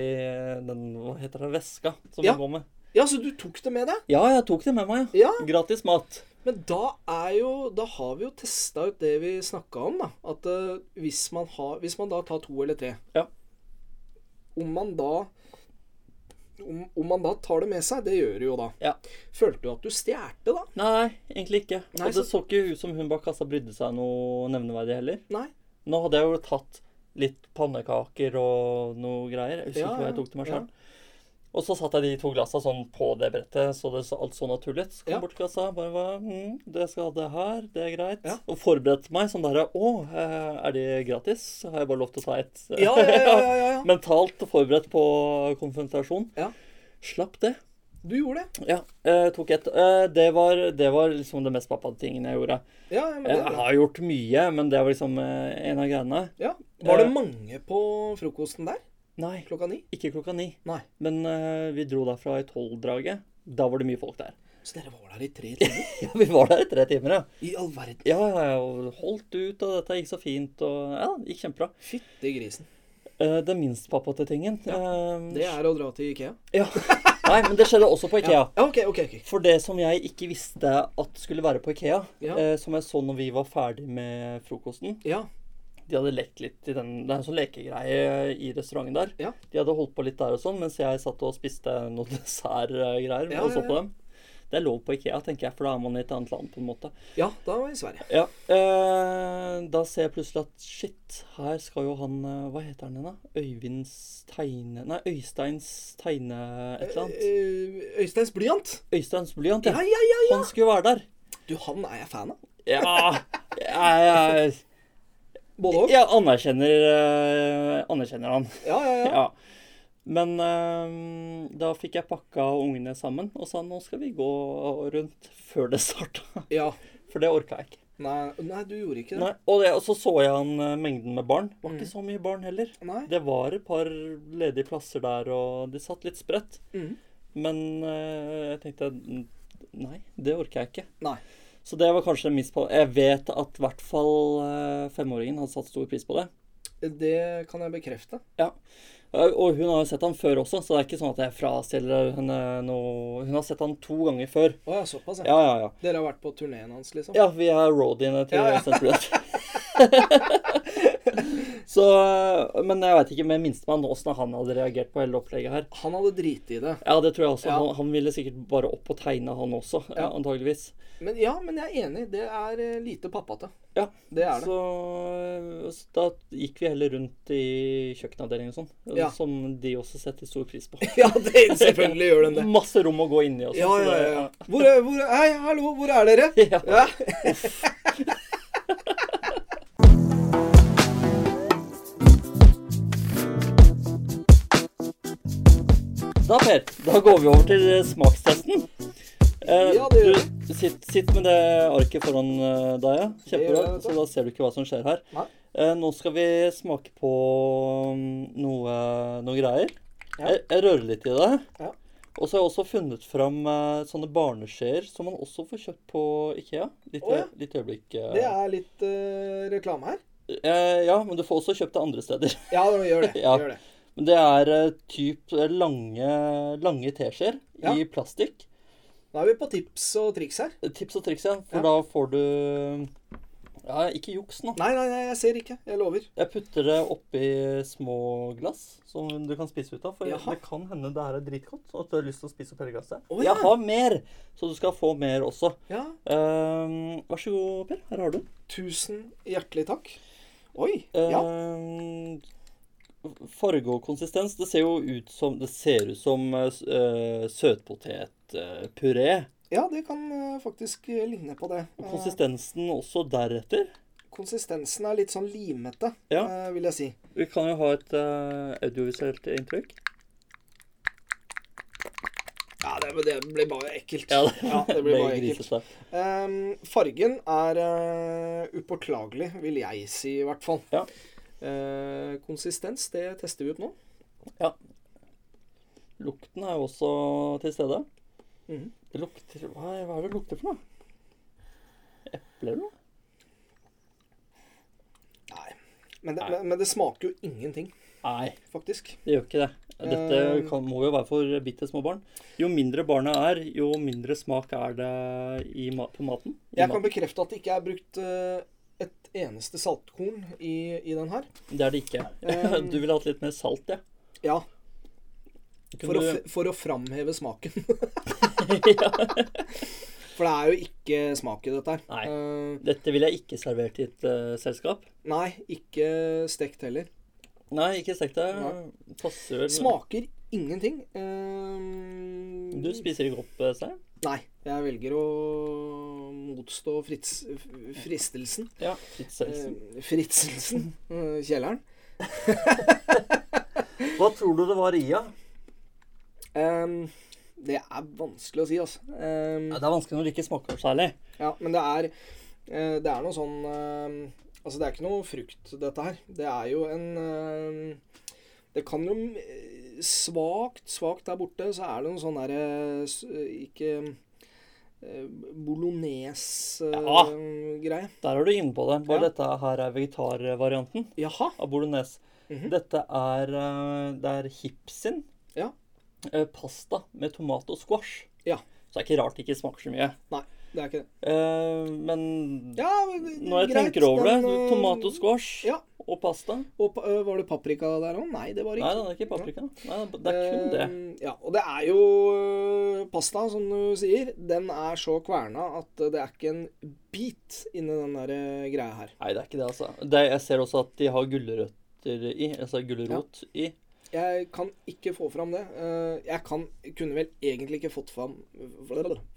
Speaker 2: den, hva heter det, veska som
Speaker 1: Ja.
Speaker 2: han går med.
Speaker 1: Ja, så du tok det med deg?
Speaker 2: Ja, jeg tok det med meg,
Speaker 1: Ja.
Speaker 2: Gratis mat.
Speaker 1: Men da er jo Da har vi jo testa ut det vi snakka om, da. At eh, hvis, man har, hvis man da tar to eller tre
Speaker 2: Ja.
Speaker 1: Om man da om, om man da tar det med seg, det gjør du jo da.
Speaker 2: Ja.
Speaker 1: Følte du at du stjerte da?
Speaker 2: Nei, egentlig ikke.
Speaker 1: Nei,
Speaker 2: og det
Speaker 1: så-
Speaker 2: så ikke ut som hun bak kassa brydde seg noe nevneverdig heller.
Speaker 1: Nei.
Speaker 2: Nå hadde jeg jo tatt litt pannekaker og noe greier. Jeg husker
Speaker 1: Ja,
Speaker 2: ikke hva
Speaker 1: ja,
Speaker 2: jeg tok til meg
Speaker 1: ja.
Speaker 2: sjøl. Og så satte jeg de to glassa sånn på det brettet, så det så alt så naturlig ut. Så kom
Speaker 1: Ja.
Speaker 2: bort til kassa, bare var, mm, det skal ha det her, det er greit.
Speaker 1: Ja.
Speaker 2: Og forberedte meg sånn derre Å, eh, er det gratis? Har jeg bare lov til å ta ett?
Speaker 1: Ja, ja, ja. ja, ja, ja.
Speaker 2: Mentalt forberedt på konfrontasjon.
Speaker 1: Ja.
Speaker 2: Slapp det.
Speaker 1: Du gjorde det.
Speaker 2: Ja, eh, tok ett. Eh, det, var, det var liksom det mest pappa-tingen jeg gjorde.
Speaker 1: Ja, ja, men det
Speaker 2: Jeg
Speaker 1: er bra.
Speaker 2: har gjort mye, men det var liksom eh, en av greiene.
Speaker 1: Ja. Var det mange på frokosten der
Speaker 2: Nei,
Speaker 1: klokka ni?
Speaker 2: ikke klokka ni.
Speaker 1: Nei.
Speaker 2: Men eh, vi dro derfra i tolvdraget. Da var det mye folk der.
Speaker 1: Så dere var der i tre timer?
Speaker 2: Ja, Vi var der i tre timer, ja.
Speaker 1: I all verden.
Speaker 2: Ja, ja, ja, og holdt ut, og dette gikk så fint, og ja, det gikk kjempebra.
Speaker 1: Fytti grisen.
Speaker 2: Eh, det minst pappate tingen eh,
Speaker 1: Det er å dra til Ikea.
Speaker 2: ja. Nei, men det skjedde også på Ikea.
Speaker 1: Ja, OK, OK. ok.
Speaker 2: For det som jeg ikke visste at skulle være på Ikea,
Speaker 1: Ja.
Speaker 2: eh, som jeg så når vi var ferdig med frokosten,
Speaker 1: Ja.
Speaker 2: De hadde lekt litt i den Det er en sånn lekegreie i restauranten der.
Speaker 1: Ja.
Speaker 2: De hadde holdt på litt der og sånn, mens jeg satt og spiste noen dessertgreier
Speaker 1: Ja,
Speaker 2: og så
Speaker 1: ja,
Speaker 2: på dem. Det er lov på Ikea, tenker jeg, for da er man i et annet land, på en måte.
Speaker 1: ja, da var vi i Sverige.
Speaker 2: Ja, eh, Da ser jeg plutselig at shit, her skal jo han eh, Hva heter han igjen, da? Øyvinds tegne... Nei, Øysteins tegne et eller annet.
Speaker 1: Eh, Øysteins blyant.
Speaker 2: Øysteins blyant,
Speaker 1: Ja,
Speaker 2: ja.
Speaker 1: ja, ja, ja.
Speaker 2: Han skulle være der.
Speaker 1: Du, han er jeg fan av.
Speaker 2: Ja, jeg, jeg,
Speaker 1: Både òg.
Speaker 2: jeg anerkjenner, eh, anerkjenner han.
Speaker 1: Ja, ja, ja.
Speaker 2: Ja. Men eh, da fikk jeg pakka ungene sammen og sa nå skal vi gå rundt før det starta.
Speaker 1: ja.
Speaker 2: For det orka jeg ikke.
Speaker 1: Nei, nei, du gjorde ikke det.
Speaker 2: Nei, og, det, og så så jeg han eh, mengden med barn. Det var
Speaker 1: Mm.
Speaker 2: ikke så mye barn heller.
Speaker 1: Nei.
Speaker 2: Det var et par ledige plasser der, og de satt litt spredt.
Speaker 1: Mm.
Speaker 2: Men eh, jeg tenkte "N- nei, det orker jeg ikke.
Speaker 1: Nei.
Speaker 2: Så det var kanskje en miss på Jeg vet at i hvert fall eh, femåringen hadde satt stor pris på det.
Speaker 1: Det kan jeg bekrefte.
Speaker 2: Ja, Og hun har jo sett han før også, så det er ikke sånn at jeg frastiller henne noe Hun har sett han to ganger før.
Speaker 1: Å ja, såpass, ja.
Speaker 2: Ja, ja, ja.
Speaker 1: Dere har vært på turneen hans, liksom?
Speaker 2: Ja, vi er roadiene til
Speaker 1: Ja, ja.
Speaker 2: St. Blunt. så Men jeg veit ikke med minstemann åssen han hadde reagert på hele opplegget her.
Speaker 1: Han hadde driti i det.
Speaker 2: Ja, det tror jeg også.
Speaker 1: Ja.
Speaker 2: Han, han ville sikkert bare opp og tegne, han også. Ja.
Speaker 1: Ja.
Speaker 2: Antageligvis.
Speaker 1: Men ja, men jeg er enig. Det er eh, lite pappate.
Speaker 2: Ja.
Speaker 1: Det er det.
Speaker 2: Så, så da gikk vi heller rundt i kjøkkenavdelingen og sånn.
Speaker 1: Ja.
Speaker 2: Som de også setter stor pris på.
Speaker 1: Ja, det, selvfølgelig gjør den det.
Speaker 2: Masse rom å gå inn i og sånn.
Speaker 1: Ja, ja,
Speaker 2: så det-
Speaker 1: ja. Hvor, er- hvor, er- hei, hallo, hvor er dere?
Speaker 2: Ja.
Speaker 1: Ja.
Speaker 2: Da, Per, da går vi over til eh, smakstesten. Eh,
Speaker 1: Ja, det gjør
Speaker 2: du, sitt, sitt med det arket foran eh, deg, ja.
Speaker 1: Det gjør
Speaker 2: Kjempebra.
Speaker 1: jeg, vet du.
Speaker 2: Så da ser du ikke hva som skjer her.
Speaker 1: Nei.
Speaker 2: Eh, nå skal vi smake på mm, noe, noe greier.
Speaker 1: Ja.
Speaker 2: Jeg, jeg rører litt i det.
Speaker 1: Ja.
Speaker 2: Og så har jeg også funnet fram eh, sånne barneskjeer som man også får kjøpt på Ikea. Litt,
Speaker 1: Å, ja.
Speaker 2: litt øyeblikk. eh.
Speaker 1: Det er litt eh, reklame her.
Speaker 2: Eh, ja, men du får også kjøpt det andre steder.
Speaker 1: Ja, gjør det.
Speaker 2: Ja.
Speaker 1: Gjør det.
Speaker 2: Men det er eh, typ lange, lange teskjeer
Speaker 1: Ja.
Speaker 2: i plastikk.
Speaker 1: Da er vi på tips og triks her.
Speaker 2: Tips og triks, ja. For
Speaker 1: Ja.
Speaker 2: da får du Ja, ikke juks nå.
Speaker 1: Nei, nei, nei, jeg ser ikke. Jeg lover.
Speaker 2: Jeg putter det oppi små glass som du kan spise ut av. For
Speaker 1: Jaha.
Speaker 2: det kan hende det her er dritgodt, og at du har lyst til å spise opp hele glasset.
Speaker 1: Å, ja.
Speaker 2: Jeg har mer, så du skal få mer også.
Speaker 1: Ja,
Speaker 2: Ehm, vær så god, Per. Her har du den.
Speaker 1: tusen hjertelig takk. Oi. Ja.
Speaker 2: Ehm, farge og konsistens. Det ser jo ut som Det ser ut som uh, søtpotetpuré.
Speaker 1: ja, det kan eh, faktisk eh, ligne på det.
Speaker 2: og
Speaker 1: Eh,
Speaker 2: konsistensen også deretter.
Speaker 1: Konsistensen er litt sånn limete,
Speaker 2: Ja.
Speaker 1: eh, vil jeg si.
Speaker 2: Vi kan jo ha et eh, audiovisuelt inntrykk.
Speaker 1: Ja, det, men det blir bare ekkelt.
Speaker 2: Ja, det,
Speaker 1: det blir
Speaker 2: blir
Speaker 1: bare ekkelt.
Speaker 2: grisete.
Speaker 1: Ehm, fargen er eh, upåklagelig, vil jeg si i hvert fall.
Speaker 2: Ja.
Speaker 1: Eh, konsistens, det tester vi ut nå.
Speaker 2: Lukten er jo også til stede.
Speaker 1: Mhm.
Speaker 2: Det lukter Hva er hva er det det lukter for noe? Eple eller noe?
Speaker 1: Nei. Men det, men, men det smaker jo ingenting,
Speaker 2: Nei,
Speaker 1: faktisk.
Speaker 2: det gjør ikke det. Dette kan, må jo være for bitte små barn. Jo mindre barnet er, jo mindre smak er det i ma på maten. I
Speaker 1: Jeg kan
Speaker 2: maten.
Speaker 1: bekrefte at det ikke er brukt eh, et eneste saltkorn i, i den her.
Speaker 2: Det er det ikke.
Speaker 1: Ehm.
Speaker 2: Du ville hatt litt mer salt, ja.
Speaker 1: Ja, for å,
Speaker 2: Kunne
Speaker 1: f- for å framheve smaken.
Speaker 2: du- ja.
Speaker 1: For det er jo ikke smak i dette her.
Speaker 2: Nei.
Speaker 1: Eh,
Speaker 2: Dette ville jeg ikke servert i et eh, selskap.
Speaker 1: nei, ikke stekt heller.
Speaker 2: Nei, ikke stekt det.
Speaker 1: Nei.
Speaker 2: Passer vel
Speaker 1: Smaker ingenting. Eh,
Speaker 2: Du spiser ikke opp, eh, Stein?
Speaker 1: Nei, jeg velger å motstå frits, f- fristelsen.
Speaker 2: Ja. Litt selsen.
Speaker 1: Eh, fritselsen. eh, Kjelleren.
Speaker 2: Hva tror du det var i, da?
Speaker 1: Em, Eh, det er vanskelig å si, altså. Em,
Speaker 2: Ja, det er vanskelig når det ikke smaker særlig.
Speaker 1: ja, men det er eh, Det er noe sånn em, Altså, det er ikke noe frukt, dette her. Det er jo en em, Det kan jo eh, Svakt, svakt der borte, så er det noe sånn derre s- Ikke eh,
Speaker 2: Ja.
Speaker 1: Bolognese-greie.
Speaker 2: Der er du inne på det. Bare
Speaker 1: Ja.
Speaker 2: dette her er vegetarvarianten
Speaker 1: Jaha.
Speaker 2: av bolognese.
Speaker 1: Mhm.
Speaker 2: Dette er eh, Det er hipsin.
Speaker 1: Ja.
Speaker 2: Eh, Pasta med tomat og squash.
Speaker 1: Ja.
Speaker 2: Så det er ikke rart det ikke smaker så mye.
Speaker 1: Det er ikke det.
Speaker 2: Eh, Men
Speaker 1: Ja, men
Speaker 2: når jeg
Speaker 1: greit,
Speaker 2: tenker over det
Speaker 1: men, øh,
Speaker 2: Tomat og squash
Speaker 1: ja.
Speaker 2: og pasta.
Speaker 1: Og pa- øh, var det paprika der òg? Nei, det var det
Speaker 2: Nei,
Speaker 1: ikke.
Speaker 2: det er ikke paprika. Nei, det er kun det.
Speaker 1: Eh, Ja, og det er jo øh, pasta, som du sier. Den er så kverna at øh, det er ikke en bit inni den der øh, greia her.
Speaker 2: Nei, det er ikke det, altså. Det, jeg ser også at de har gulrøtter i. Altså gulrot i.
Speaker 1: Jeg kan ikke få fram det. Eh, Jeg kan, kunne vel egentlig ikke fått fram,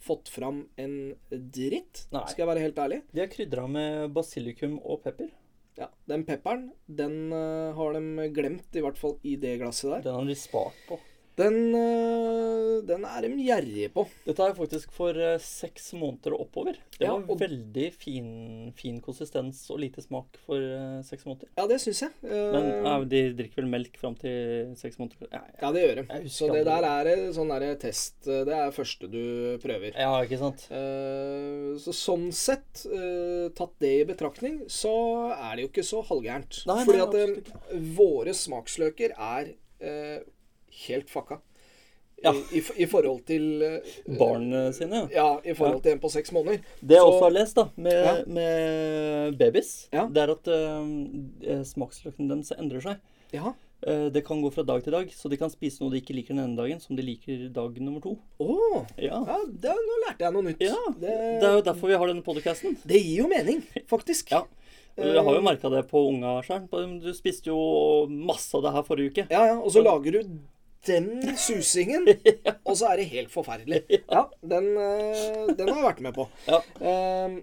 Speaker 1: fått fram en dritt,
Speaker 2: Nei.
Speaker 1: skal jeg være helt ærlig.
Speaker 2: De har krydra med basilikum og pepper.
Speaker 1: Ja, Den pepperen, den øh, har de glemt, i hvert fall i det glasset der.
Speaker 2: Den har de spart på.
Speaker 1: Den, øh, den er de gjerrige på.
Speaker 2: Dette er faktisk for eh, seks måneder og oppover. Det
Speaker 1: Ja,
Speaker 2: var
Speaker 1: og-
Speaker 2: veldig fin, fin konsistens og lite smak for eh, seks måneder.
Speaker 1: Ja, det syns jeg. Eh,
Speaker 2: Men eh, de drikker vel melk fram til seks måneder? Ja, ja.
Speaker 1: ja, det gjør de.
Speaker 2: Jeg
Speaker 1: Så
Speaker 2: husker
Speaker 1: det der
Speaker 2: aldri.
Speaker 1: er en sånn der test. eh, Det er første du prøver.
Speaker 2: Ja, ikke sant?
Speaker 1: Eh, så sånn sett, eh, tatt det i betraktning, så er det jo ikke så halvgærent.
Speaker 2: Nei, nei,
Speaker 1: Fordi at
Speaker 2: absolutt
Speaker 1: eh, våre smaksløker er eh, helt fucka.
Speaker 2: Ja.
Speaker 1: I, i, I forhold til eh,
Speaker 2: Barna sine. ja.
Speaker 1: Ja, i forhold
Speaker 2: Ja.
Speaker 1: til en på seks måneder.
Speaker 2: Det jeg
Speaker 1: Så-
Speaker 2: også har lest da, med,
Speaker 1: Ja.
Speaker 2: med babies,
Speaker 1: Ja.
Speaker 2: det er at uh, smaksløkene deres endrer seg.
Speaker 1: Ja.
Speaker 2: Eh, det kan gå fra dag til dag, så de kan spise noe de ikke liker den ene dagen, som de liker dag nummer to.
Speaker 1: Å!
Speaker 2: Ja,
Speaker 1: ja, det, nå lærte jeg noe nytt.
Speaker 2: ja.
Speaker 1: Det,
Speaker 2: Det er jo derfor vi har denne podcasten.
Speaker 1: det gir jo mening, faktisk.
Speaker 2: Ja. Jeg har jo merka det på unga sjøl. Du spiste jo masse av det her forrige uke.
Speaker 1: Ja, ja, og så lager du den susingen, og så er det helt forferdelig. Ja, den, eh, den har jeg vært med på.
Speaker 2: Ja.
Speaker 1: Eh,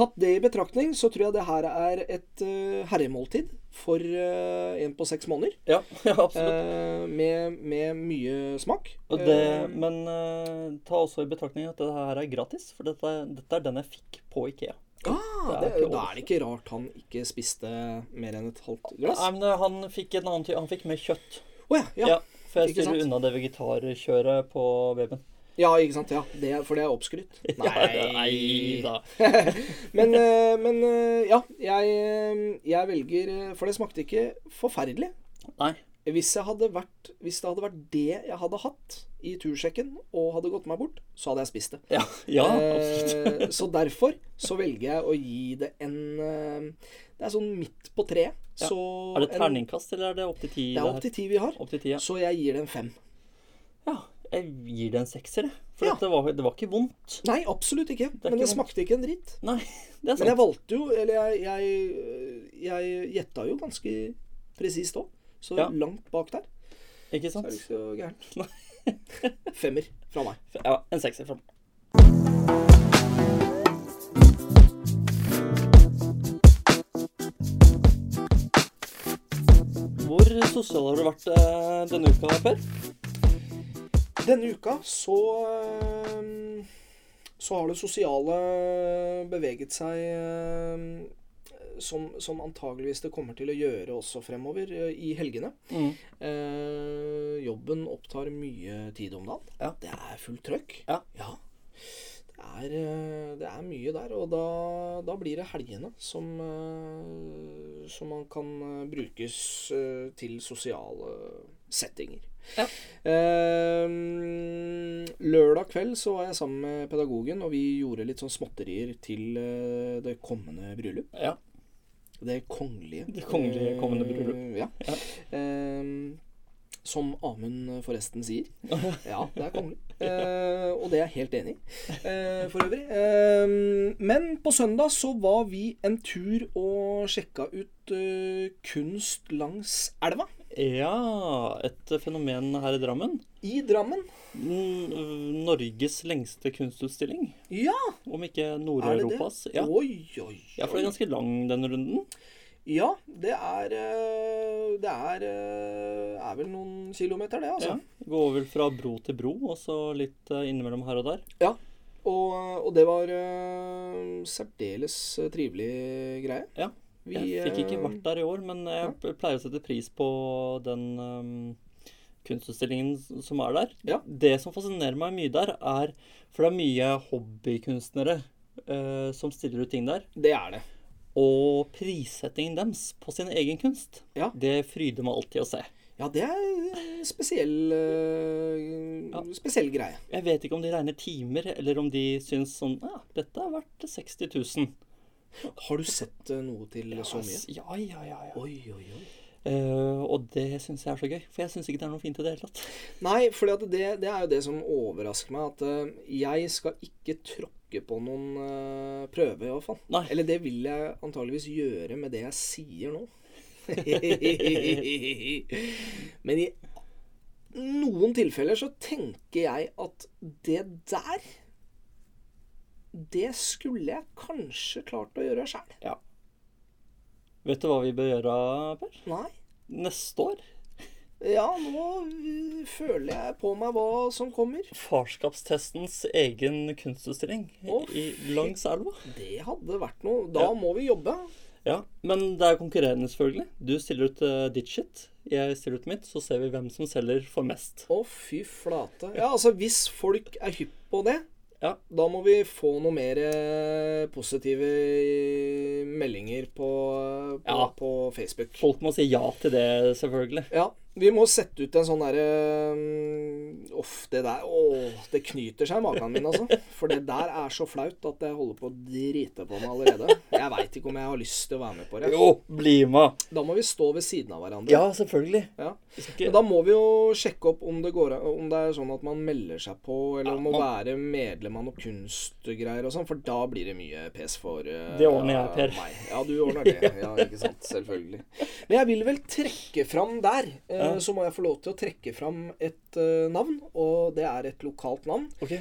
Speaker 1: tatt det i betraktning, så tror jeg det her er et eh, herremåltid for eh, en på seks måneder.
Speaker 2: Ja, ja absolutt.
Speaker 1: eh, med, med mye smak.
Speaker 2: Og det,
Speaker 1: Eh,
Speaker 2: men eh, ta også i betraktning at dette her er gratis, for dette, dette er den jeg fikk på Ikea.
Speaker 1: ah,
Speaker 2: det
Speaker 1: det,
Speaker 2: er ikke
Speaker 1: da er det ikke rart han ikke spiste mer enn et halvt glass.
Speaker 2: Nei, men eh, han fikk en annen ty Han fikk mer kjøtt.
Speaker 1: Å ja,
Speaker 2: Ja,
Speaker 1: ja.
Speaker 2: For jeg
Speaker 1: ikke
Speaker 2: styrer
Speaker 1: sant?
Speaker 2: unna det vegetarkjøret på babyen.
Speaker 1: Ja, ikke sant. Ja, det, er- for det er oppskrytt.
Speaker 2: Ja, nei da.
Speaker 1: Men, eh, men eh, ja, jeg, eh, jeg velger eh, For det smakte ikke forferdelig.
Speaker 2: Nei.
Speaker 1: Hvis, jeg hadde vært, hvis det hadde vært det jeg hadde hatt i tursjekken og hadde gått meg bort, så hadde jeg spist det.
Speaker 2: Ja, ja absolutt.
Speaker 1: Eh, så derfor så velger jeg å gi det en eh, Det er sånn midt på treet.
Speaker 2: Ja.
Speaker 1: Så
Speaker 2: Er det
Speaker 1: en-
Speaker 2: terningkast, eller er det opp til ti?
Speaker 1: Det er opp til ti vi har.
Speaker 2: opp til ti, ja.
Speaker 1: Så jeg gir det en fem.
Speaker 2: ja. Jeg gir det en sekser, jeg. For
Speaker 1: Ja.
Speaker 2: at det, var, det var ikke vondt.
Speaker 1: Nei, absolutt ikke.
Speaker 2: er
Speaker 1: men
Speaker 2: ikke
Speaker 1: det smakte ikke en dritt.
Speaker 2: Nei, det er
Speaker 1: Men jeg
Speaker 2: sant.
Speaker 1: valgte jo Eller jeg, jeg, jeg gjetta jo ganske presist òg. Så
Speaker 2: Ja.
Speaker 1: langt bak der.
Speaker 2: Ikke
Speaker 1: Det er
Speaker 2: sant?
Speaker 1: ikke så gærent. Femmer fra meg.
Speaker 2: Ja, en sekser fra meg. Hvor sosial har du vært eh, denne uka, Per?
Speaker 1: Denne uka så øhm, Så har det sosiale beveget seg øhm, som, som antageligvis det kommer til å gjøre også fremover øh, i helgene.
Speaker 2: Mm.
Speaker 1: Eh, jobben opptar mye tid om dagen.
Speaker 2: Ja.
Speaker 1: Det er fullt trøkk.
Speaker 2: Ja.
Speaker 1: Det, er, eh, det er mye der. Og da, da blir det helgene som, eh, som man kan eh, brukes eh, til sosiale settinger.
Speaker 2: Ja.
Speaker 1: Eh, lørdag kveld så var jeg sammen med pedagogen, og vi gjorde litt sånn småtterier til eh, det kommende bryllup.
Speaker 2: Ja.
Speaker 1: Det kongelige.
Speaker 2: Det kongelige kommende bryllup.
Speaker 1: Eh, Ja. Eh, som Amund forresten sier. Ja, det er kongelig. Eh, og det er jeg helt enig i eh, for øvrig. Eh, men på søndag så var vi en tur og sjekka ut eh, kunst langs elva
Speaker 2: ja, et fenomen her i Drammen.
Speaker 1: i Drammen.
Speaker 2: N Norges lengste kunstutstilling,
Speaker 1: Ja!
Speaker 2: om ikke Nord-Europas. Ja.
Speaker 1: Oi, oi,
Speaker 2: ja, for det er
Speaker 1: oi.
Speaker 2: ganske lang den runden.
Speaker 1: Ja, det er eh, Det er, eh, er vel noen kilometer, det, altså.
Speaker 2: Ja. Går vel fra bro til bro, og så litt eh, innimellom her og der.
Speaker 1: Og, og det var eh, særdeles trivelig greie.
Speaker 2: Ja.
Speaker 1: Vi,
Speaker 2: Jeg fikk ikke
Speaker 1: eh,
Speaker 2: vært der i år, men jeg p- pleier å sette pris på den ehm, kunstutstillingen s- som er der.
Speaker 1: Ja.
Speaker 2: Det som fascinerer meg mye der, er For det er mye hobbykunstnere eh, som stiller ut ting der.
Speaker 1: Det er det.
Speaker 2: Og prissettingen deres på sin egen kunst,
Speaker 1: Ja.
Speaker 2: det fryder meg alltid å se.
Speaker 1: Ja, det er en spesiell, eh,
Speaker 2: Ja.
Speaker 1: spesiell greie.
Speaker 2: Jeg vet ikke om de regner timer, eller om de syns sånn Ja, dette er verdt 60 000.
Speaker 1: Har du sett eh, noe til så mye?
Speaker 2: Ass, Ja, ja, ja. ja.
Speaker 1: Oi, oi, oi.
Speaker 2: Eh, og det syns jeg er så gøy. For jeg syns ikke det er noe fint i det hele tatt.
Speaker 1: Nei, for det, det er jo det som overrasker meg. At eh, jeg skal ikke tråkke på noen eh, prøve, i hvert fall.
Speaker 2: Nei.
Speaker 1: Eller det vil jeg antageligvis gjøre med det jeg sier nå. Men i noen tilfeller så tenker jeg at det der Det skulle jeg kanskje klart å gjøre sjæl.
Speaker 2: Vet du hva vi bør gjøre, Per?
Speaker 1: Nei.
Speaker 2: Neste år?
Speaker 1: Ja, nå eh, føler jeg på meg hva som kommer.
Speaker 2: Farskapstestens egen kunstutstilling
Speaker 1: Å,
Speaker 2: i, langs elva.
Speaker 1: Det hadde vært noe. Da må vi jobbe.
Speaker 2: Ja, Men det er konkurrerende, selvfølgelig. Du stiller ut eh, ditt shit, jeg stiller ut mitt. Så ser vi hvem som selger for mest.
Speaker 1: Å, fy flate. Ja, altså, hvis folk er hypp på det,
Speaker 2: Ja.
Speaker 1: da må vi få noe mer eh, positive eh, meldinger på, på,
Speaker 2: Ja.
Speaker 1: på Facebook.
Speaker 2: Folk må si ja til det, selvfølgelig.
Speaker 1: Ja. Vi må sette ut en sånn derre mm, Uff, det der Å, det knyter seg i magen min, altså. For det der er så flaut at jeg holder på å drite på meg allerede. Jeg veit ikke om jeg har lyst til å være med på det.
Speaker 2: Jo, bli med!
Speaker 1: Da må vi stå ved siden av hverandre.
Speaker 2: Ja, selvfølgelig.
Speaker 1: Ja.
Speaker 2: Vi skal
Speaker 1: Men
Speaker 2: ikke-
Speaker 1: da må vi jo sjekke opp om det, går, an- om det er sånn at man melder seg på, eller om å være medlem av noe kunstgreier og sånn, for da blir det mye pes for eh,
Speaker 2: Det ordner jeg, Per.
Speaker 1: meg. Ja, du ordner det. Ja, ikke sant. Selvfølgelig. Men jeg vil vel trekke fram der, eh,
Speaker 2: Ja.
Speaker 1: så må jeg få lov til å trekke fram et eh, navn, og det er et lokalt navn.
Speaker 2: Ok.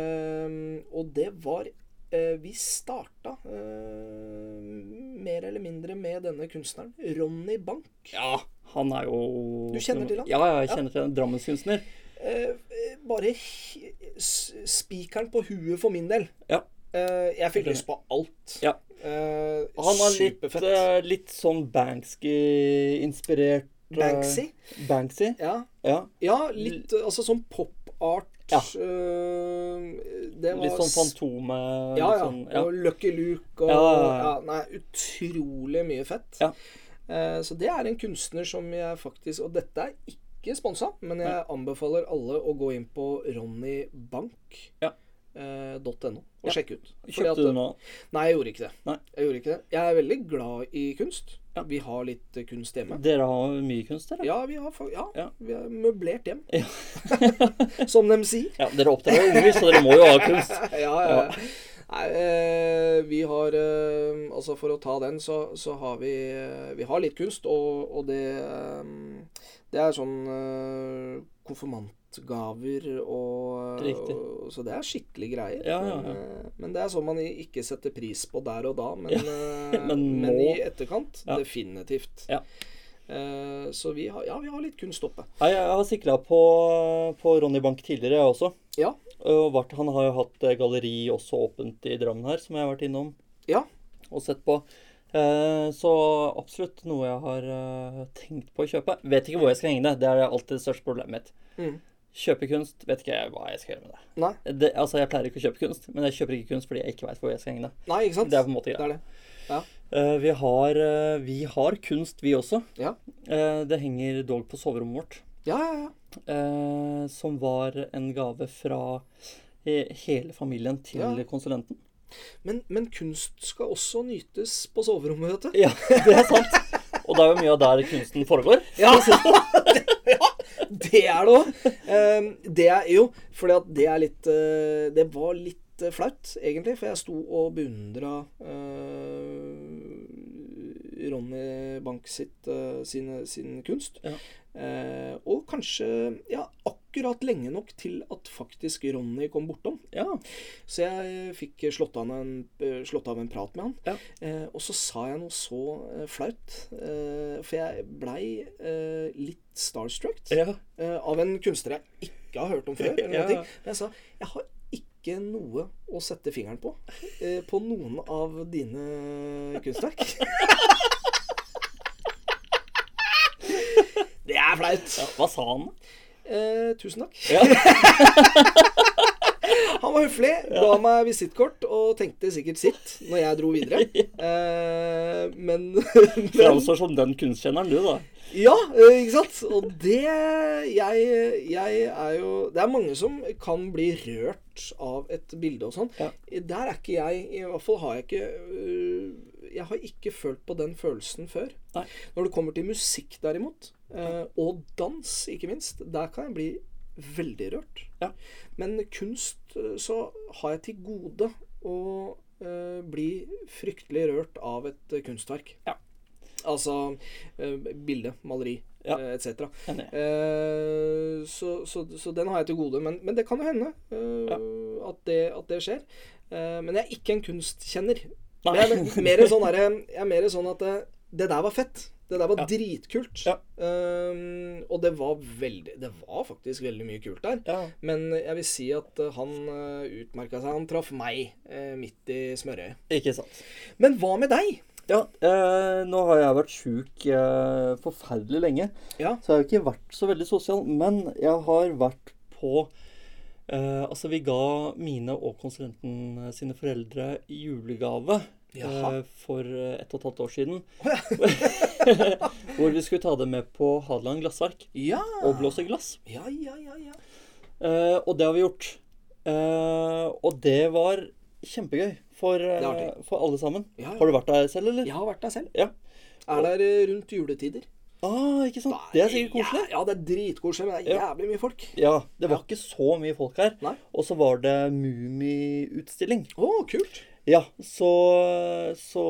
Speaker 1: Ehm, og det var eh, Vi starta eh, mer eller mindre med denne kunstneren, Ronny Bank.
Speaker 2: Ja, han er jo
Speaker 1: Du kjenner til han?
Speaker 2: Ja, ja, jeg kjenner til han. Drammenskunstner.
Speaker 1: Eh, eh, bare hi- s- spikeren på huet for min del.
Speaker 2: Ja.
Speaker 1: Eh, jeg fikk lyst på alt.
Speaker 2: Ja.
Speaker 1: Eh,
Speaker 2: Han er litt,
Speaker 1: superfett.
Speaker 2: eh, litt sånn Banksy-inspirert. eh,
Speaker 1: Banksy.
Speaker 2: Banksy,
Speaker 1: Ja.
Speaker 2: ja.
Speaker 1: ja, litt eh, altså sånn pop-art.
Speaker 2: Ja.
Speaker 1: eh, det var
Speaker 2: Litt sånn
Speaker 1: s-
Speaker 2: fantome
Speaker 1: Ja, ja.
Speaker 2: Sånn, ja.
Speaker 1: Og Lucky Luke og
Speaker 2: Ja,
Speaker 1: ja,
Speaker 2: ja, ja.
Speaker 1: Nei, utrolig mye fett.
Speaker 2: Ja.
Speaker 1: Eh, Så det er en kunstner som jeg faktisk Og dette er ikke sponsa, men jeg anbefaler alle å gå inn på eh,
Speaker 2: Ja.
Speaker 1: ronnybank.no og
Speaker 2: Ja.
Speaker 1: sjekke ut. Fordi at-
Speaker 2: Kjøpte du nå?
Speaker 1: Nei, jeg gjorde ikke det.
Speaker 2: Nei.
Speaker 1: Jeg gjorde ikke det. Jeg er veldig glad i kunst.
Speaker 2: Ja.
Speaker 1: Vi har litt eh, kunst hjemme.
Speaker 2: Dere har mye kunst, dere?
Speaker 1: Ja, vi har, fa- ja,
Speaker 2: Ja.
Speaker 1: Vi har møblert hjem. Som de sier.
Speaker 2: Ja, dere oppdrar jo unger, så dere må jo ha kunst.
Speaker 1: Ja, ja. ja. Nei, eh, vi har eh, Altså, for å ta den, så, så har vi eh, Vi har litt kunst, og, og det eh, Det er sånn eh, konfirmantgaver og, eh,
Speaker 2: Riktig.
Speaker 1: og Så det er skikkelig greier.
Speaker 2: Ja, ja, ja.
Speaker 1: Men, eh, men det er sånn man i- ikke setter pris på der og da, men, eh, men,
Speaker 2: men må.
Speaker 1: i etterkant
Speaker 2: Ja.
Speaker 1: definitivt.
Speaker 2: Ja.
Speaker 1: Eh, så vi har, ja, vi har litt kunst oppe.
Speaker 2: Nei, jeg har sikla på, på Ronny Bank tidligere, jeg også.
Speaker 1: Ja.
Speaker 2: Og vært, han har jo hatt eh, galleri også åpent i Drammen her, som jeg har vært innom
Speaker 1: Ja.
Speaker 2: og sett på. Eh, så absolutt noe jeg har eh, tenkt på å kjøpe. Vet ikke hvor jeg skal henge det. Det er alltid det største problemet mitt.
Speaker 1: Mm.
Speaker 2: Kjøpe kunst, vet ikke jeg hva jeg skal gjøre med det.
Speaker 1: Nei.
Speaker 2: det. Altså, jeg pleier ikke å kjøpe kunst, men jeg kjøper ikke kunst fordi jeg ikke veit hvor jeg skal henge det.
Speaker 1: Nei, ikke sant?
Speaker 2: Det er på en måte
Speaker 1: Det
Speaker 2: greit.
Speaker 1: er det.
Speaker 2: Eh, vi, har, eh, vi har kunst, vi også.
Speaker 1: Ja.
Speaker 2: Eh, det henger dog på soverommet vårt.
Speaker 1: Ja, ja, ja.
Speaker 2: Eh, som var en gave fra he hele familien til
Speaker 1: Ja.
Speaker 2: konsulenten.
Speaker 1: Men, men kunst skal også nytes på soverommet, vet du.
Speaker 2: Ja, det er sant. Og det er jo mye av der kunsten foregår.
Speaker 1: Ja, det er det òg. Det er jo fordi at det er litt eh, Det var litt eh, flaut, egentlig, for jeg sto og beundra eh, Ronny Bank sitt, eh, sine, sin kunst.
Speaker 2: Ja.
Speaker 1: Eh, og kanskje ja, akkurat lenge nok til at faktisk Ronny kom bortom.
Speaker 2: Ja.
Speaker 1: Så jeg eh, fikk slått av en, eh, slått av en prat med han.
Speaker 2: Ja.
Speaker 1: Eh, og så sa jeg noe så eh, flaut, eh, for jeg blei eh, litt starstruck
Speaker 2: ja.
Speaker 1: eh, av en kunstner jeg ikke har hørt om før. Eller
Speaker 2: Ja.
Speaker 1: noen ting. Men jeg sa jeg har ikke noe å sette fingeren på eh, på noen av dine kunstverk. Det er flaut.
Speaker 2: Hva sa han?
Speaker 1: Eh, tusen takk.
Speaker 2: Ja.
Speaker 1: Han var høflig, ga meg visittkort og tenkte sikkert sitt når jeg dro videre. Eh, men, men
Speaker 2: Framstår altså som den kunstkjenneren, du, da.
Speaker 1: Ja, eh, ikke sant? Og det jeg, jeg er jo Det er mange som kan bli rørt av et bilde og sånn.
Speaker 2: Ja.
Speaker 1: Der er ikke jeg I hvert fall har jeg ikke øh, Jeg har ikke følt på den følelsen før.
Speaker 2: Nei.
Speaker 1: Når det kommer til musikk, derimot, eh, og dans, ikke minst, der kan jeg bli veldig rørt.
Speaker 2: Ja.
Speaker 1: Men kunst eh, så har jeg til gode å eh, bli fryktelig rørt av et eh, kunstverk.
Speaker 2: Ja.
Speaker 1: Altså eh, bilde, maleri
Speaker 2: Ja.
Speaker 1: eh, etc.
Speaker 2: Enig.
Speaker 1: Eh, så, så, så den har jeg til gode. Men, men det kan jo hende eh, at, det, at det skjer. Eh, men jeg er ikke en kunstkjenner.
Speaker 2: Nei.
Speaker 1: Men Jeg, er mer sånn derre- jeg er mer sånn at det, det der var fett. Det der var
Speaker 2: Ja.
Speaker 1: dritkult.
Speaker 2: Ja.
Speaker 1: Eh, og det var veldig Det var faktisk veldig mye kult der.
Speaker 2: Ja.
Speaker 1: Men jeg vil si at eh, han uh, utmerka seg. Han traff meg eh, midt i smørøyet.
Speaker 2: Ikke sant.
Speaker 1: Men hva med deg?
Speaker 2: Ja, eh, nå har jeg vært sjuk eh, forferdelig lenge,
Speaker 1: Ja.
Speaker 2: så jeg har ikke vært så veldig sosial. Men jeg har vært på eh, Altså, vi ga mine og konsulenten sine foreldre julegave
Speaker 1: Jaha.
Speaker 2: eh, for eh, ett og et halvt år siden. Hvor vi skulle ta det med på Hadeland glassverk
Speaker 1: Ja.
Speaker 2: og blåse glass.
Speaker 1: Ja, ja, ja, ja.
Speaker 2: Eh, og det har vi gjort. Eh, og det var kjempegøy for, eh,
Speaker 1: Det er artig.
Speaker 2: for alle sammen.
Speaker 1: Ja, ja.
Speaker 2: Har du vært der selv, eller?
Speaker 1: Jeg har vært der selv.
Speaker 2: Ja.
Speaker 1: Er der eh, rundt juletider.
Speaker 2: Ah, ikke sant?
Speaker 1: Nei,
Speaker 2: Det er sikkert koselig.
Speaker 1: Ja, ja det er dritkoselig, men det er jævlig mye folk.
Speaker 2: Ja, det var ikke så mye folk her.
Speaker 1: Nei.
Speaker 2: Og så var det mumiutstilling.
Speaker 1: Å, kult.
Speaker 2: Ja, så, så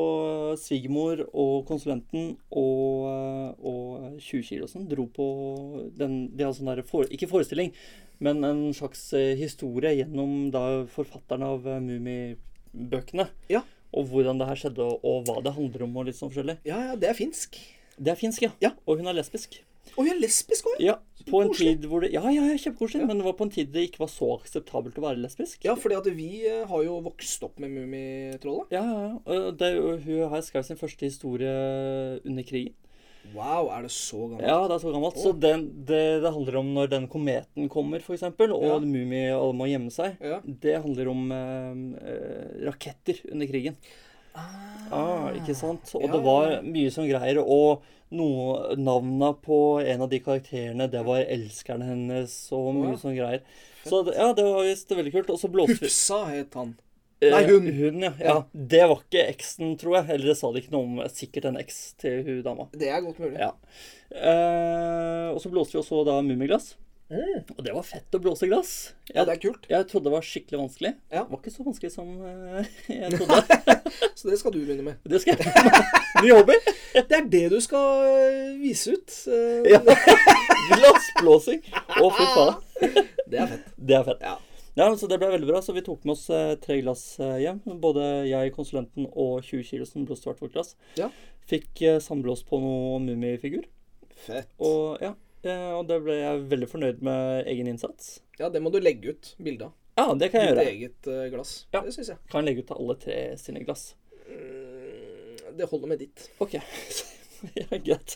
Speaker 2: svigermor og konsulenten og, eh, og 20-kilosen dro på den De hadde sånn der fore, Ikke forestilling, men en slags eh, historie gjennom da forfatteren av eh, Mummibøkene.
Speaker 1: Ja.
Speaker 2: Og hvordan det her skjedde, og, og hva det handler om, og litt sånn forskjellig.
Speaker 1: Ja, ja, det er finsk.
Speaker 2: Det er finsk, ja.
Speaker 1: Ja.
Speaker 2: Og hun er lesbisk.
Speaker 1: Å, jeg er lesbisk òg, ja.
Speaker 2: Ja, på en
Speaker 1: koselig.
Speaker 2: tid hvor det Ja, ja, ja kjempekoselig, men det var på en tid det ikke var så akseptabelt å være lesbisk.
Speaker 1: Ja, fordi at vi eh, har jo vokst opp med Mummitrollet.
Speaker 2: Ja, ja, ja. Og Det, er jo- hun her skrev sin første historie under krigen.
Speaker 1: Wow, er det så gammelt?
Speaker 2: Ja, det er så gammelt. Så den, det, det handler om når den kometen kommer, f.eks., og
Speaker 1: Ja.
Speaker 2: ja. mumie alle må gjemme seg.
Speaker 1: Ja.
Speaker 2: Det handler om eh, eh, raketter under krigen. Ah, ikke sant? Og
Speaker 1: Ja,
Speaker 2: det
Speaker 1: ja,
Speaker 2: var mye sånn greier. Og noe, navna på en av de karakterene, det var elskeren hennes og mye
Speaker 1: Wow.
Speaker 2: sånn greier. Så det- ja, det var visst veldig kult. Og så blåste vi
Speaker 1: Hufsa het han.
Speaker 2: eh,
Speaker 1: Nei, hun.
Speaker 2: Hun, ja. ja.
Speaker 1: Ja.
Speaker 2: Det var ikke eksen, tror jeg. Eller det sa de ikke noe om. Sikkert en eks til hun dama.
Speaker 1: Det er godt mulig.
Speaker 2: Ja. Eh, og så blåste vi også da mummiglass.
Speaker 1: Mm.
Speaker 2: Og det var fett å blåse glass.
Speaker 1: Ja,
Speaker 2: Jeg,
Speaker 1: det er kult.
Speaker 2: jeg trodde det var skikkelig vanskelig.
Speaker 1: Ja.
Speaker 2: Det var ikke så vanskelig som eh, jeg trodde.
Speaker 1: Så det skal du begynne med.
Speaker 2: Det skal jeg. Ny hobby.
Speaker 1: Det er det du skal øh, vise ut. øh,
Speaker 2: Ja. Glassblåsing! Å, fy faen.
Speaker 1: Det er fett.
Speaker 2: Det er fett.
Speaker 1: Ja.
Speaker 2: Ja, så Det ble veldig bra, så vi tok med oss eh, tre glass eh, hjem. Både jeg, konsulenten og 20-kilosen blåste hvert vårt glass.
Speaker 1: Ja.
Speaker 2: Fikk eh, samblås på noe mummifigur.
Speaker 1: Fett.
Speaker 2: Og ja, eh, og det ble jeg veldig fornøyd med egen innsats.
Speaker 1: Ja, det må du legge ut bilde av.
Speaker 2: Ja, det kan jeg
Speaker 1: Ditt
Speaker 2: gjøre.
Speaker 1: eget øh, glass.
Speaker 2: Ja.
Speaker 1: Det syns jeg.
Speaker 2: Kan legge ut til alle tre sine glass.
Speaker 1: Mm, Det holder med ditt.
Speaker 2: Ok. ja, greit.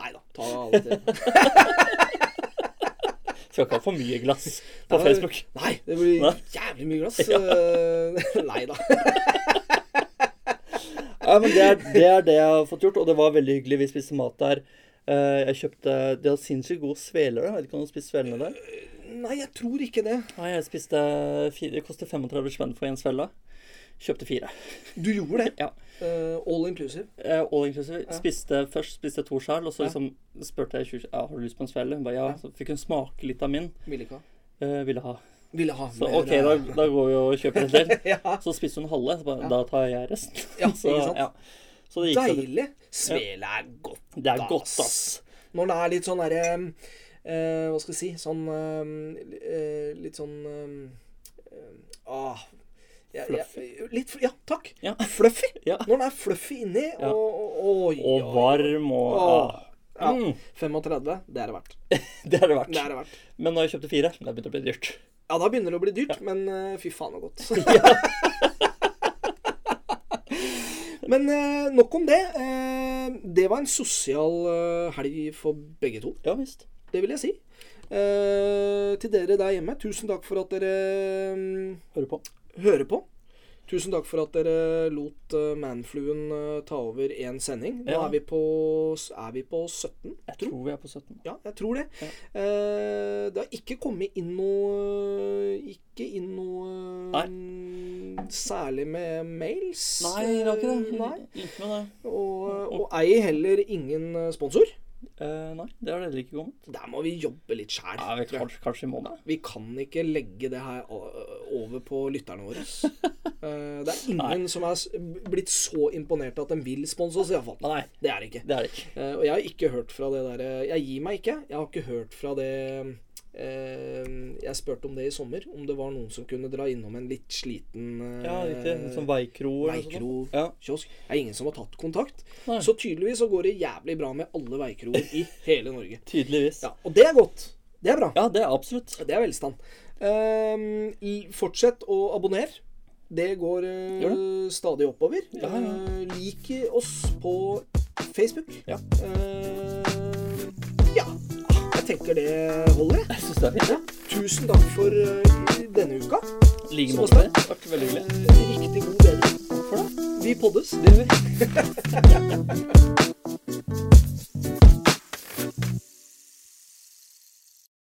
Speaker 1: Nei da, ta alle tre.
Speaker 2: Skal ikke ha for mye glass
Speaker 1: Ja,
Speaker 2: på
Speaker 1: det-
Speaker 2: Facebook.
Speaker 1: Nei, det blir
Speaker 2: Nei.
Speaker 1: jævlig mye glass. øh, Nei da.
Speaker 2: Ja, men det er, det er det jeg har fått gjort, og det var veldig hyggelig. Vi spiste mat der. Eh, Jeg kjøpte De har sinnssykt gode sveler. da. Jeg vet ikke om du har spist svelene der?
Speaker 1: Nei, jeg tror ikke det.
Speaker 2: Nei, jeg spiste fire. Det koster 35 spenn for én svele. Kjøpte fire.
Speaker 1: Du gjorde det.
Speaker 2: Ja.
Speaker 1: Eh, all inclusive.
Speaker 2: Eh, All inclusive.
Speaker 1: Ja.
Speaker 2: Spiste, først spiste jeg to skjær, og så
Speaker 1: Ja.
Speaker 2: liksom spurte jeg tjue- ja, har du lyst på en svele. Hun ba ja.
Speaker 1: Ja.
Speaker 2: Så fikk hun smake litt av min.
Speaker 1: Ville ikke ha.
Speaker 2: Eh, ville ha.
Speaker 1: Ville ha
Speaker 2: Så
Speaker 1: mer,
Speaker 2: OK,
Speaker 1: øh,
Speaker 2: da, da går vi og kjøper en til.
Speaker 1: ja.
Speaker 2: Så spiste hun halve. Så bare,
Speaker 1: Ja.
Speaker 2: Da tar jeg resten.
Speaker 1: Ja,
Speaker 2: så,
Speaker 1: ikke sant?
Speaker 2: ja. så det gikk sånn.
Speaker 1: Deilig. Svele er godt.
Speaker 2: Det er godt, ass.
Speaker 1: Når den er litt sånn derre eh, Hva skal jeg si Sånn eh, eh, Litt sånn eh, eh, ah, jeg, Jeg, litt, fl- ja, takk.
Speaker 2: Ja.
Speaker 1: Fluffy.
Speaker 2: Ja.
Speaker 1: Når den er fluffy inni
Speaker 2: Ja.
Speaker 1: og, og, oi,
Speaker 2: Og
Speaker 1: oi.
Speaker 2: varm og
Speaker 1: Åh.
Speaker 2: ah.
Speaker 1: Ja.
Speaker 2: Mm.
Speaker 1: 35. Det er det verdt.
Speaker 2: Det er det verdt.
Speaker 1: Det er det verdt.
Speaker 2: Men når jeg kjøpte fire, da begynte det å bli dyrt.
Speaker 1: Ja, da begynner det å bli dyrt, men eh, fy faen så godt. men eh, nok om det. Eh, det var en sosial eh, helg for begge to,
Speaker 2: Ja visst.
Speaker 1: det vil jeg si. Eh, til dere der hjemme, tusen takk for at dere mm,
Speaker 2: Hører på.
Speaker 1: hører på. Tusen takk for at dere lot eh, manfluen eh, ta over én sending. Nå
Speaker 2: Ja.
Speaker 1: er, vi på, er vi på 17.
Speaker 2: Jeg tror vi er på 17.
Speaker 1: Ja, jeg tror det. Eh, det har ikke kommet inn noe eh, Ikke inn noe mm, særlig med mails.
Speaker 2: Nei, det var ikke det.
Speaker 1: Eh, Nei.
Speaker 2: Ikke med det.
Speaker 1: Og, eh, og ei heller ingen sponsor.
Speaker 2: Eh, nei, det har det heller ikke kommet.
Speaker 1: Der må vi jobbe litt sjæl.
Speaker 2: Ja, vi kanskje, kanskje i måned.
Speaker 1: Vi kan ikke legge det her o- over på lytterne våre. Eh, det er ingen som er s- blitt så imponert at de vil sponse oss, iallfall.
Speaker 2: Nei,
Speaker 1: Det er det ikke.
Speaker 2: det er det ikke.
Speaker 1: Eh, og jeg har ikke hørt fra det derre Jeg gir meg ikke. Jeg har ikke hørt fra det eh, Jeg spurte om det i sommer, om det var noen som kunne dra innom en litt sliten eh,
Speaker 2: Ja, riktig. Som veikro eller noe sånt.
Speaker 1: veikro.
Speaker 2: Ja.
Speaker 1: Kiosk. Det er ingen som har tatt kontakt.
Speaker 2: Nei.
Speaker 1: Så tydeligvis så går det jævlig bra med alle veikroer i hele Norge.
Speaker 2: Tydeligvis.
Speaker 1: Ja, og det er godt. Det er bra.
Speaker 2: Ja, det er absolutt.
Speaker 1: Det er velstand. Ehm, l- fortsett å abonnere. Det går eh,
Speaker 2: Gjør
Speaker 1: stadig oppover.
Speaker 2: Ja, ja.
Speaker 1: Eh, lik oss på Facebook.
Speaker 2: Ja.
Speaker 1: Eh, ja. Jeg tenker det holder. jeg.
Speaker 2: Jeg syns det er fint.
Speaker 1: Ja. Tusen takk for eh, denne uka.
Speaker 2: ja. I like
Speaker 1: Så
Speaker 2: måte. Det har vært veldig
Speaker 1: Eh,
Speaker 2: hyggelig.
Speaker 1: riktig god bedring.
Speaker 2: Takk for det.
Speaker 1: Vi poddes.
Speaker 2: Det gjør vi.